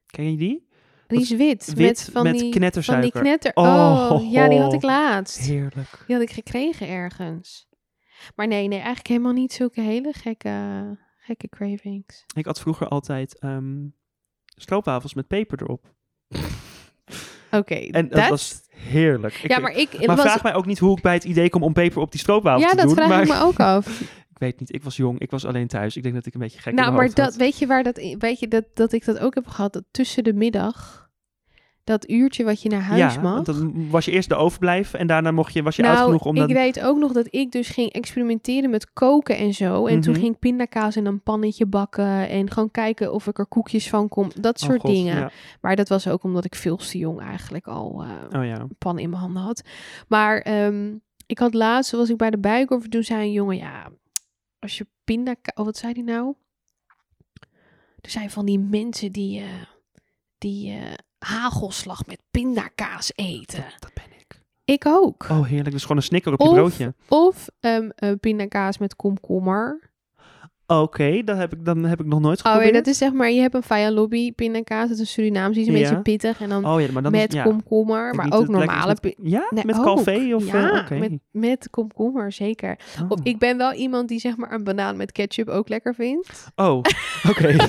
[SPEAKER 2] Ken je die?
[SPEAKER 1] Die is wit,
[SPEAKER 2] Wit
[SPEAKER 1] met van
[SPEAKER 2] met
[SPEAKER 1] die, van die
[SPEAKER 2] knettersuiker.
[SPEAKER 1] knetter.
[SPEAKER 2] Oh.
[SPEAKER 1] Oh, ja, die had ik laatst.
[SPEAKER 2] Heerlijk.
[SPEAKER 1] Die had ik gekregen ergens. Maar nee, nee, eigenlijk helemaal niet zulke hele gekke, gekke cravings.
[SPEAKER 2] Ik had vroeger altijd ehm stroopwafels met peper erop.
[SPEAKER 1] Oké,
[SPEAKER 2] En dat
[SPEAKER 1] that's-
[SPEAKER 2] was heerlijk. Ik-
[SPEAKER 1] Ja, maar ik...
[SPEAKER 2] maar
[SPEAKER 1] was...
[SPEAKER 2] vraag mij ook niet hoe ik bij het idee kom om peper op die stroopwafel
[SPEAKER 1] ja,
[SPEAKER 2] te
[SPEAKER 1] dat
[SPEAKER 2] doen.
[SPEAKER 1] vraag
[SPEAKER 2] maar
[SPEAKER 1] ik me ook af.
[SPEAKER 2] ik weet niet. Ik was jong. Ik was alleen thuis. Ik denk dat ik een beetje gek in
[SPEAKER 1] nou,
[SPEAKER 2] mijn
[SPEAKER 1] maar
[SPEAKER 2] hoofd
[SPEAKER 1] dat,
[SPEAKER 2] had.
[SPEAKER 1] weet je waar dat, weet je dat, dat ik dat ook heb gehad? Dat tussen de middag, dat uurtje wat je naar huis
[SPEAKER 2] ja,
[SPEAKER 1] mag. Nou,
[SPEAKER 2] want dan was je eerst de overblijf en daarna mocht je, was je oud genoeg om dan...
[SPEAKER 1] ik weet ook nog dat ik dus ging experimenteren met koken en zo. En toen
[SPEAKER 2] Mhm.
[SPEAKER 1] ging ik pindakaas in een pannetje bakken. En gewoon kijken of ik er koekjes van kom. Dat
[SPEAKER 2] Oh,
[SPEAKER 1] soort
[SPEAKER 2] God,
[SPEAKER 1] dingen.
[SPEAKER 2] ja.
[SPEAKER 1] Maar dat was ook omdat ik veel te jong eigenlijk al eh,
[SPEAKER 2] Oh ja.
[SPEAKER 1] pan in mijn handen had. Maar ehm, ik had laatst, was ik bij de Bijenkorf, toen zei een jongen, ja, als je pindaka... Oh, wat zei die nou? Er zijn van die mensen die, eh, die eh, hagelslag met pindakaas eten.
[SPEAKER 2] Dat ben ik.
[SPEAKER 1] Ik ook.
[SPEAKER 2] Oh, heerlijk. Dus gewoon een snicker op je
[SPEAKER 1] Of-
[SPEAKER 2] broodje.
[SPEAKER 1] Of ehm eh, pindakaas met komkommer.
[SPEAKER 2] Oké, dat, heb ik- dan heb ik nog nooit
[SPEAKER 1] Oh,
[SPEAKER 2] geprobeerd.
[SPEAKER 1] ja, dat is zeg maar, je hebt een Faya Lobby pindakaas. Dat is Surinaams, die is een
[SPEAKER 2] Ja.
[SPEAKER 1] beetje pittig. En dan
[SPEAKER 2] Oh ja, maar dan
[SPEAKER 1] met
[SPEAKER 2] is, ja.
[SPEAKER 1] komkommer,
[SPEAKER 2] Ik
[SPEAKER 1] maar
[SPEAKER 2] niet
[SPEAKER 1] ook
[SPEAKER 2] het lekkers
[SPEAKER 1] normale... pi-
[SPEAKER 2] Met, ja,
[SPEAKER 1] Nee,
[SPEAKER 2] met
[SPEAKER 1] ook.
[SPEAKER 2] café of... eh,
[SPEAKER 1] ja,
[SPEAKER 2] oké.
[SPEAKER 1] met, met komkommer, zeker.
[SPEAKER 2] Oh.
[SPEAKER 1] Of ik ben wel iemand die zeg maar een banaan met ketchup ook lekker vindt.
[SPEAKER 2] Oh, oké.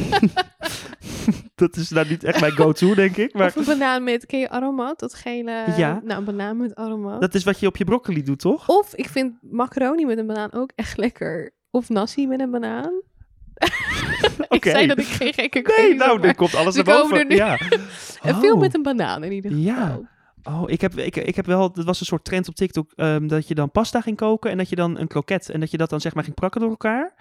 [SPEAKER 2] dat is nou niet echt mijn go-to, denk ik. Maar
[SPEAKER 1] Of een banaan met, ken je aromat? Dat gele...
[SPEAKER 2] Ja.
[SPEAKER 1] Nou, een banaan met aromat.
[SPEAKER 2] dat is wat je op je broccoli doet, toch?
[SPEAKER 1] Of ik vind macaroni met een banaan ook echt lekker. Of nasi met een banaan. Ik
[SPEAKER 2] Oké.
[SPEAKER 1] zei dat ik geen gekke
[SPEAKER 2] Nee,
[SPEAKER 1] cravings
[SPEAKER 2] nou,
[SPEAKER 1] had, maar-
[SPEAKER 2] er komt alles
[SPEAKER 1] die
[SPEAKER 2] naar boven.
[SPEAKER 1] komen er nu.
[SPEAKER 2] Ja.
[SPEAKER 1] En veel
[SPEAKER 2] Oh.
[SPEAKER 1] met een banaan in ieder geval.
[SPEAKER 2] Ja. Oh, ik heb, ik, ik heb wel, dat was een soort trend op TikTok, ehm, dat je dan pasta ging koken en dat je dan een kroket en dat je dat dan zeg maar ging prakken door elkaar.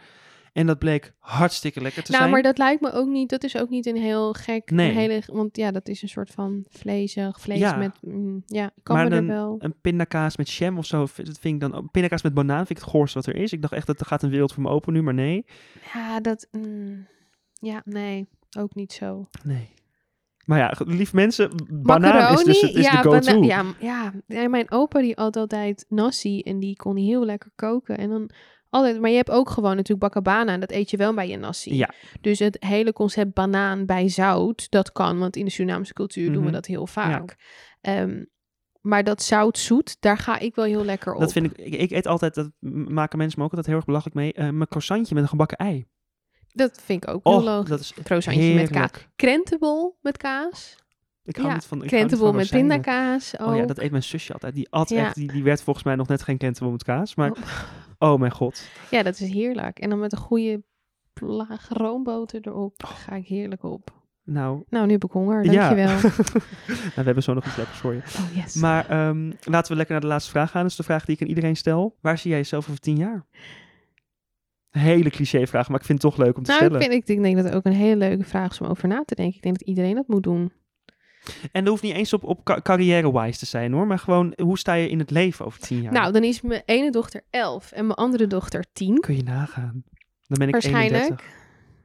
[SPEAKER 2] En dat bleek hartstikke lekker te
[SPEAKER 1] nou,
[SPEAKER 2] zijn.
[SPEAKER 1] maar dat lijkt me ook niet. Dat is ook niet een heel gek.
[SPEAKER 2] Nee.
[SPEAKER 1] Een hele, want ja, dat is een soort van vleesig. Vlees
[SPEAKER 2] Ja.
[SPEAKER 1] met. mm, ja, kan
[SPEAKER 2] Maar
[SPEAKER 1] me
[SPEAKER 2] een-
[SPEAKER 1] er wel.
[SPEAKER 2] Een pindakaas met jam of zo, v- dat vind ik dan, ook- pindakaas met banaan vind ik het goorste wat er is. Ik dacht echt, dat er gaat een wereld voor me open nu, maar nee.
[SPEAKER 1] Ja, dat. mm, ja, nee. Ook niet zo.
[SPEAKER 2] Nee. Maar ja, lief mensen, banaan
[SPEAKER 1] Macaroni,
[SPEAKER 2] is dus het, is
[SPEAKER 1] ja,
[SPEAKER 2] de go-to.
[SPEAKER 1] bana- Ja, m- ja. En mijn opa die had altijd nasi en die kon heel lekker koken. En dan altijd, maar je hebt ook gewoon natuurlijk bakabana en dat eet je wel bij je nasi.
[SPEAKER 2] Ja.
[SPEAKER 1] Dus het hele concept banaan bij zout, dat kan, want in de Surinaamse cultuur doen
[SPEAKER 2] Mhm.
[SPEAKER 1] we dat heel vaak. Ehm, maar dat zout-zoet, daar ga ik wel heel lekker op.
[SPEAKER 2] Dat vind ik, ik, ik eet altijd, dat m- maken mensen me ook altijd heel erg belachelijk mee, eh, mijn croissantje met een gebakken ei.
[SPEAKER 1] Dat vind ik ook heel
[SPEAKER 2] Oh,
[SPEAKER 1] logisch.
[SPEAKER 2] dat is
[SPEAKER 1] Croissantje
[SPEAKER 2] heerlijk.
[SPEAKER 1] met kaas. Krentebol met kaas.
[SPEAKER 2] Ik hou
[SPEAKER 1] Ja,
[SPEAKER 2] niet van ik hou niet
[SPEAKER 1] Krentebol
[SPEAKER 2] van
[SPEAKER 1] met
[SPEAKER 2] rozijnen.
[SPEAKER 1] pindakaas. Oh,
[SPEAKER 2] Oh ja, dat eet mijn zusje altijd. Die at
[SPEAKER 1] Ja.
[SPEAKER 2] echt, die, die werd volgens mij nog net geen kentebol met kaas. Maar
[SPEAKER 1] Oh.
[SPEAKER 2] oh, mijn god.
[SPEAKER 1] Ja, dat is heerlijk. En dan met een goede laag roomboter erop ga ik heerlijk op.
[SPEAKER 2] Nou,
[SPEAKER 1] Nou, nu heb ik honger.
[SPEAKER 2] ja.
[SPEAKER 1] Dankjewel.
[SPEAKER 2] nou, we hebben zo nog iets lekkers voor je.
[SPEAKER 1] Oh, yes.
[SPEAKER 2] Maar ehm, laten we lekker naar de laatste vraag gaan. Dat is de vraag die ik aan iedereen stel. Waar zie jij jezelf over tien jaar? Een hele cliché vraag, maar ik vind het toch leuk om te
[SPEAKER 1] nou, ik,
[SPEAKER 2] stellen.
[SPEAKER 1] vind, ik denk- denk dat het ook een hele leuke vraag is om over na te denken. Ik denk dat iedereen dat moet doen.
[SPEAKER 2] En dat hoeft niet eens op, op ca- carrière-wise te zijn hoor. Maar gewoon, hoe sta je in het leven over tien jaar?
[SPEAKER 1] Nou, dan is mijn ene dochter 11 en mijn andere dochter 10.
[SPEAKER 2] Kun je nagaan. Dan ben ik
[SPEAKER 1] Waarschijnlijk.
[SPEAKER 2] 31.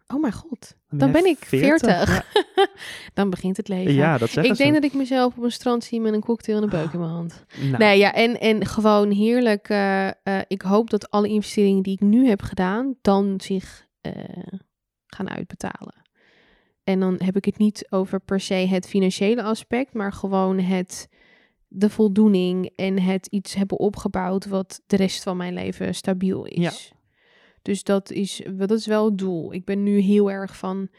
[SPEAKER 1] Oh mijn god.
[SPEAKER 2] jij
[SPEAKER 1] Dan ben ik
[SPEAKER 2] 40.
[SPEAKER 1] 40. dan begint het leven.
[SPEAKER 2] Ja, dat zeggen
[SPEAKER 1] ik
[SPEAKER 2] ze.
[SPEAKER 1] denk dat ik mezelf op een strand zie met een cocktail en een beuk in mijn hand.
[SPEAKER 2] Nou,
[SPEAKER 1] Nee, ja, en, en gewoon heerlijk. eh, eh, ik hoop dat alle investeringen die ik nu heb gedaan, dan zich eh, gaan uitbetalen. En dan heb ik het niet over per se het financiële aspect, maar gewoon het, de voldoening en het iets hebben opgebouwd wat de rest van mijn leven stabiel is. Dus dat is, wel- dat is wel het doel. Ik ben nu heel erg van,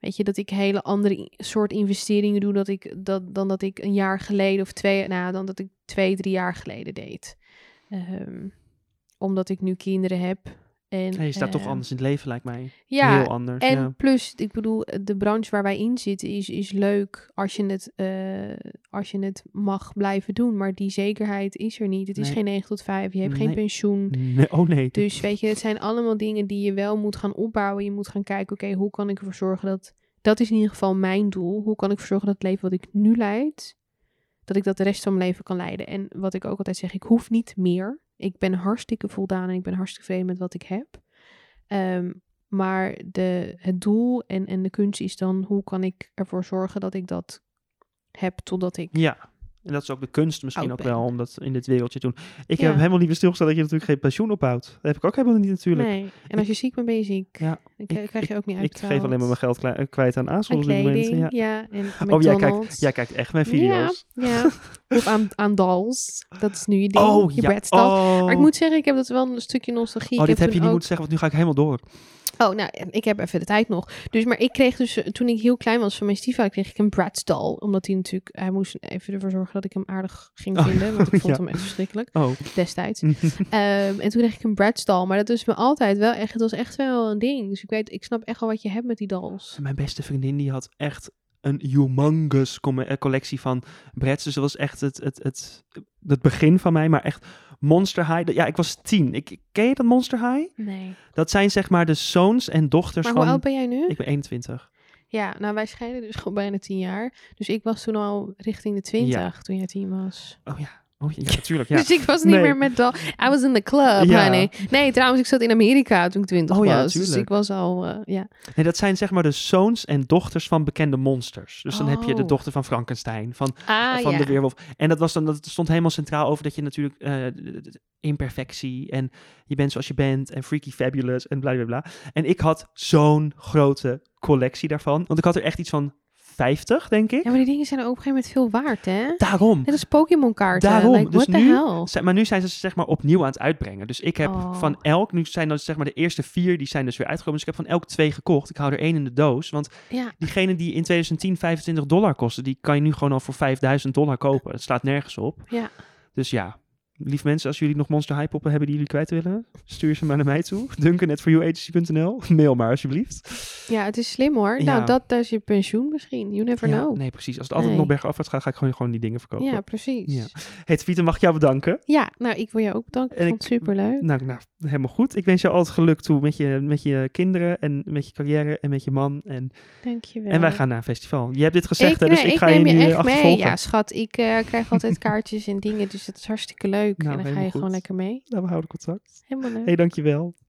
[SPEAKER 1] weet je, dat ik hele andere i- soort investeringen doe dat ik, dat, dan dat ik een jaar geleden of twee, nou, dan dat ik twee, drie jaar geleden deed. Ehm, omdat ik nu kinderen heb En,
[SPEAKER 2] Nee, je staat toch
[SPEAKER 1] eh,
[SPEAKER 2] anders in het leven, lijkt mij.
[SPEAKER 1] Ja,
[SPEAKER 2] Heel anders.
[SPEAKER 1] en
[SPEAKER 2] ja.
[SPEAKER 1] plus, ik bedoel, de branche waar wij in zitten is, is leuk als je, het, eh, als je het mag blijven doen. Maar die zekerheid is er niet. Het is
[SPEAKER 2] Nee.
[SPEAKER 1] geen 9 tot 5, je hebt geen
[SPEAKER 2] Nee.
[SPEAKER 1] pensioen.
[SPEAKER 2] Nee, oh nee.
[SPEAKER 1] Dus weet je, het zijn allemaal dingen die je wel moet gaan opbouwen. Je moet gaan kijken, oké, hoe kan ik ervoor zorgen dat... Dat is in ieder geval mijn doel. Hoe kan ik ervoor zorgen dat het leven wat ik nu leid... dat ik dat de rest van mijn leven kan leiden. En wat ik ook altijd zeg, ik hoef niet meer. Ik ben hartstikke voldaan en ik ben hartstikke tevreden met wat ik heb. Ehm, maar de, het doel en, en de kunst is dan... hoe kan ik ervoor zorgen dat ik dat heb totdat ik...
[SPEAKER 2] Ja. En dat is ook de kunst misschien
[SPEAKER 1] Oud
[SPEAKER 2] ook
[SPEAKER 1] Oh, ben.
[SPEAKER 2] wel, om dat in dit wereldje te doen. Ik
[SPEAKER 1] Ja.
[SPEAKER 2] heb helemaal niet meer stilgesteld dat je natuurlijk geen pensioen ophoudt. Dat heb ik ook helemaal niet natuurlijk.
[SPEAKER 1] Nee. En als je ziek bent, ben je ziek.
[SPEAKER 2] Ja,
[SPEAKER 1] Dan krijg-
[SPEAKER 2] ik-
[SPEAKER 1] krijg je ook niet
[SPEAKER 2] ik
[SPEAKER 1] uit.
[SPEAKER 2] geef alleen maar mijn geld klei- kwijt aan aanschouw
[SPEAKER 1] aan
[SPEAKER 2] op dit moment.
[SPEAKER 1] kleding,
[SPEAKER 2] Ja.
[SPEAKER 1] ja. en
[SPEAKER 2] Oh, jij kijkt,
[SPEAKER 1] McDonald's.
[SPEAKER 2] jij kijkt echt mijn video's.
[SPEAKER 1] Ja, ja. Of aan, aan dolls. Dat is nu je ding,
[SPEAKER 2] oh,
[SPEAKER 1] je
[SPEAKER 2] ja.
[SPEAKER 1] breadstal.
[SPEAKER 2] Oh.
[SPEAKER 1] Maar ik moet zeggen, ik heb dat wel een stukje nostalgie.
[SPEAKER 2] oh,
[SPEAKER 1] ik
[SPEAKER 2] dit
[SPEAKER 1] heb
[SPEAKER 2] heb je niet
[SPEAKER 1] toen ook...
[SPEAKER 2] moeten zeggen, want nu ga ik helemaal door.
[SPEAKER 1] Oh, nou, en ik heb even de tijd nog. Dus, maar ik kreeg dus, eh, toen ik heel klein was van mijn stiefvader, kreeg ik een Bratz doll. Omdat hij natuurlijk, hij moest even ervoor zorgen dat ik hem aardig ging
[SPEAKER 2] Oh,
[SPEAKER 1] vinden. Want ik vond
[SPEAKER 2] ja.
[SPEAKER 1] hem echt verschrikkelijk,
[SPEAKER 2] Oh,
[SPEAKER 1] destijds. Ehm, en toen kreeg ik een Bratz doll. Maar dat is me altijd wel echt, het was echt wel een ding. Dus ik weet, ik snap echt wel wat je hebt met die dolls.
[SPEAKER 2] mijn beste vriendin die had echt een humongous com- eh, collectie van Bretts. Dus dat was echt het, het, het, het begin van mij, maar echt Monster High. Dat- Ja, ik was tien. Ik, ken je dat Monster High?
[SPEAKER 1] Nee.
[SPEAKER 2] Dat zijn zeg maar de zoons en dochters
[SPEAKER 1] Maar
[SPEAKER 2] Dus van...
[SPEAKER 1] hoe oud ben jij nu?
[SPEAKER 2] Ik ben 21.
[SPEAKER 1] Ja, nou wij scheiden dus gewoon bijna tien jaar. Dus ik was toen al richting de twintig toen jij tien was.
[SPEAKER 2] Oh ja, oh, ja, ja, natuurlijk. Ja.
[SPEAKER 1] Dus ik was niet
[SPEAKER 2] Nee.
[SPEAKER 1] meer met dat. I was in the club,
[SPEAKER 2] Ja.
[SPEAKER 1] honey. Nee, trouwens, ik zat in Amerika toen ik twintig
[SPEAKER 2] Oh ja,
[SPEAKER 1] was. Dus
[SPEAKER 2] tuurlijk.
[SPEAKER 1] ik was al, eh, ja.
[SPEAKER 2] Nee, dat zijn zeg maar de zoons en dochters van bekende monsters. Dus dan heb je de
[SPEAKER 1] Oh.
[SPEAKER 2] dochter van Frankenstein, van,
[SPEAKER 1] Ah,
[SPEAKER 2] van
[SPEAKER 1] ja.
[SPEAKER 2] de weerwolf. En dat, was dan, dat stond helemaal centraal over dat je natuurlijk eh, de- de- de imperfectie en je bent zoals je bent en freaky fabulous en bla bla bla. En ik had zo'n grote collectie daarvan, want ik had er echt iets van 50, denk ik.
[SPEAKER 1] ja, maar die dingen zijn ook op een gegeven moment veel waard, hè?
[SPEAKER 2] Daarom.
[SPEAKER 1] Net als Pokémon kaarten.
[SPEAKER 2] Daarom,
[SPEAKER 1] Like,
[SPEAKER 2] dus
[SPEAKER 1] what the
[SPEAKER 2] nu-
[SPEAKER 1] hell?
[SPEAKER 2] Zij- Maar nu zijn ze ze zeg maar opnieuw aan het uitbrengen. Dus ik heb
[SPEAKER 1] Oh.
[SPEAKER 2] van elk, nu zijn dat zeg maar de eerste vier, die zijn dus weer uitgekomen. Dus ik heb van elk twee gekocht. Ik hou er één in de doos, want
[SPEAKER 1] Ja.
[SPEAKER 2] diegene die in 2010 25 dollar kostte, die kan je nu gewoon al voor 5000 dollar kopen. Het slaat nergens op.
[SPEAKER 1] Ja.
[SPEAKER 2] Dus ja, lief mensen, als jullie nog Monster High poppen hebben die jullie kwijt willen, stuur ze maar naar mij toe. Duncan.foryouagency.nl. Mail maar alsjeblieft.
[SPEAKER 1] ja, het is slim hoor.
[SPEAKER 2] Ja.
[SPEAKER 1] Nou, dat, dat is je pensioen misschien. You never
[SPEAKER 2] Ja,
[SPEAKER 1] know.
[SPEAKER 2] nee, precies. Als het altijd
[SPEAKER 1] Nee.
[SPEAKER 2] nog bergafwaarts gaat, ga ik gewoon, gewoon die dingen verkopen.
[SPEAKER 1] ja, precies.
[SPEAKER 2] Ja.
[SPEAKER 1] Ja.
[SPEAKER 2] Hey, Twieten, mag ik jou bedanken?
[SPEAKER 1] nou, ik wil jou ook bedanken. Ik
[SPEAKER 2] En
[SPEAKER 1] vond het superleuk.
[SPEAKER 2] Nou, nou, helemaal goed. Ik wens je al het geluk toe met je, met je kinderen en met je carrière en met je man. En,
[SPEAKER 1] Dank je wel.
[SPEAKER 2] en wij gaan naar een festival. Je hebt dit gezegd, hè, dus ik,
[SPEAKER 1] nee,
[SPEAKER 2] ga je
[SPEAKER 1] neem
[SPEAKER 2] nu
[SPEAKER 1] je
[SPEAKER 2] eh,
[SPEAKER 1] echt
[SPEAKER 2] achtervolgen.
[SPEAKER 1] mee. Ja, schat, ik eh, krijg altijd kaartjes en dingen, dus dat is hartstikke leuk.
[SPEAKER 2] Nou,
[SPEAKER 1] en dan ga
[SPEAKER 2] helemaal
[SPEAKER 1] je
[SPEAKER 2] goed.
[SPEAKER 1] gewoon lekker mee.
[SPEAKER 2] Nou, we houden contact.
[SPEAKER 1] Helemaal leuk.
[SPEAKER 2] Hey, dankjewel.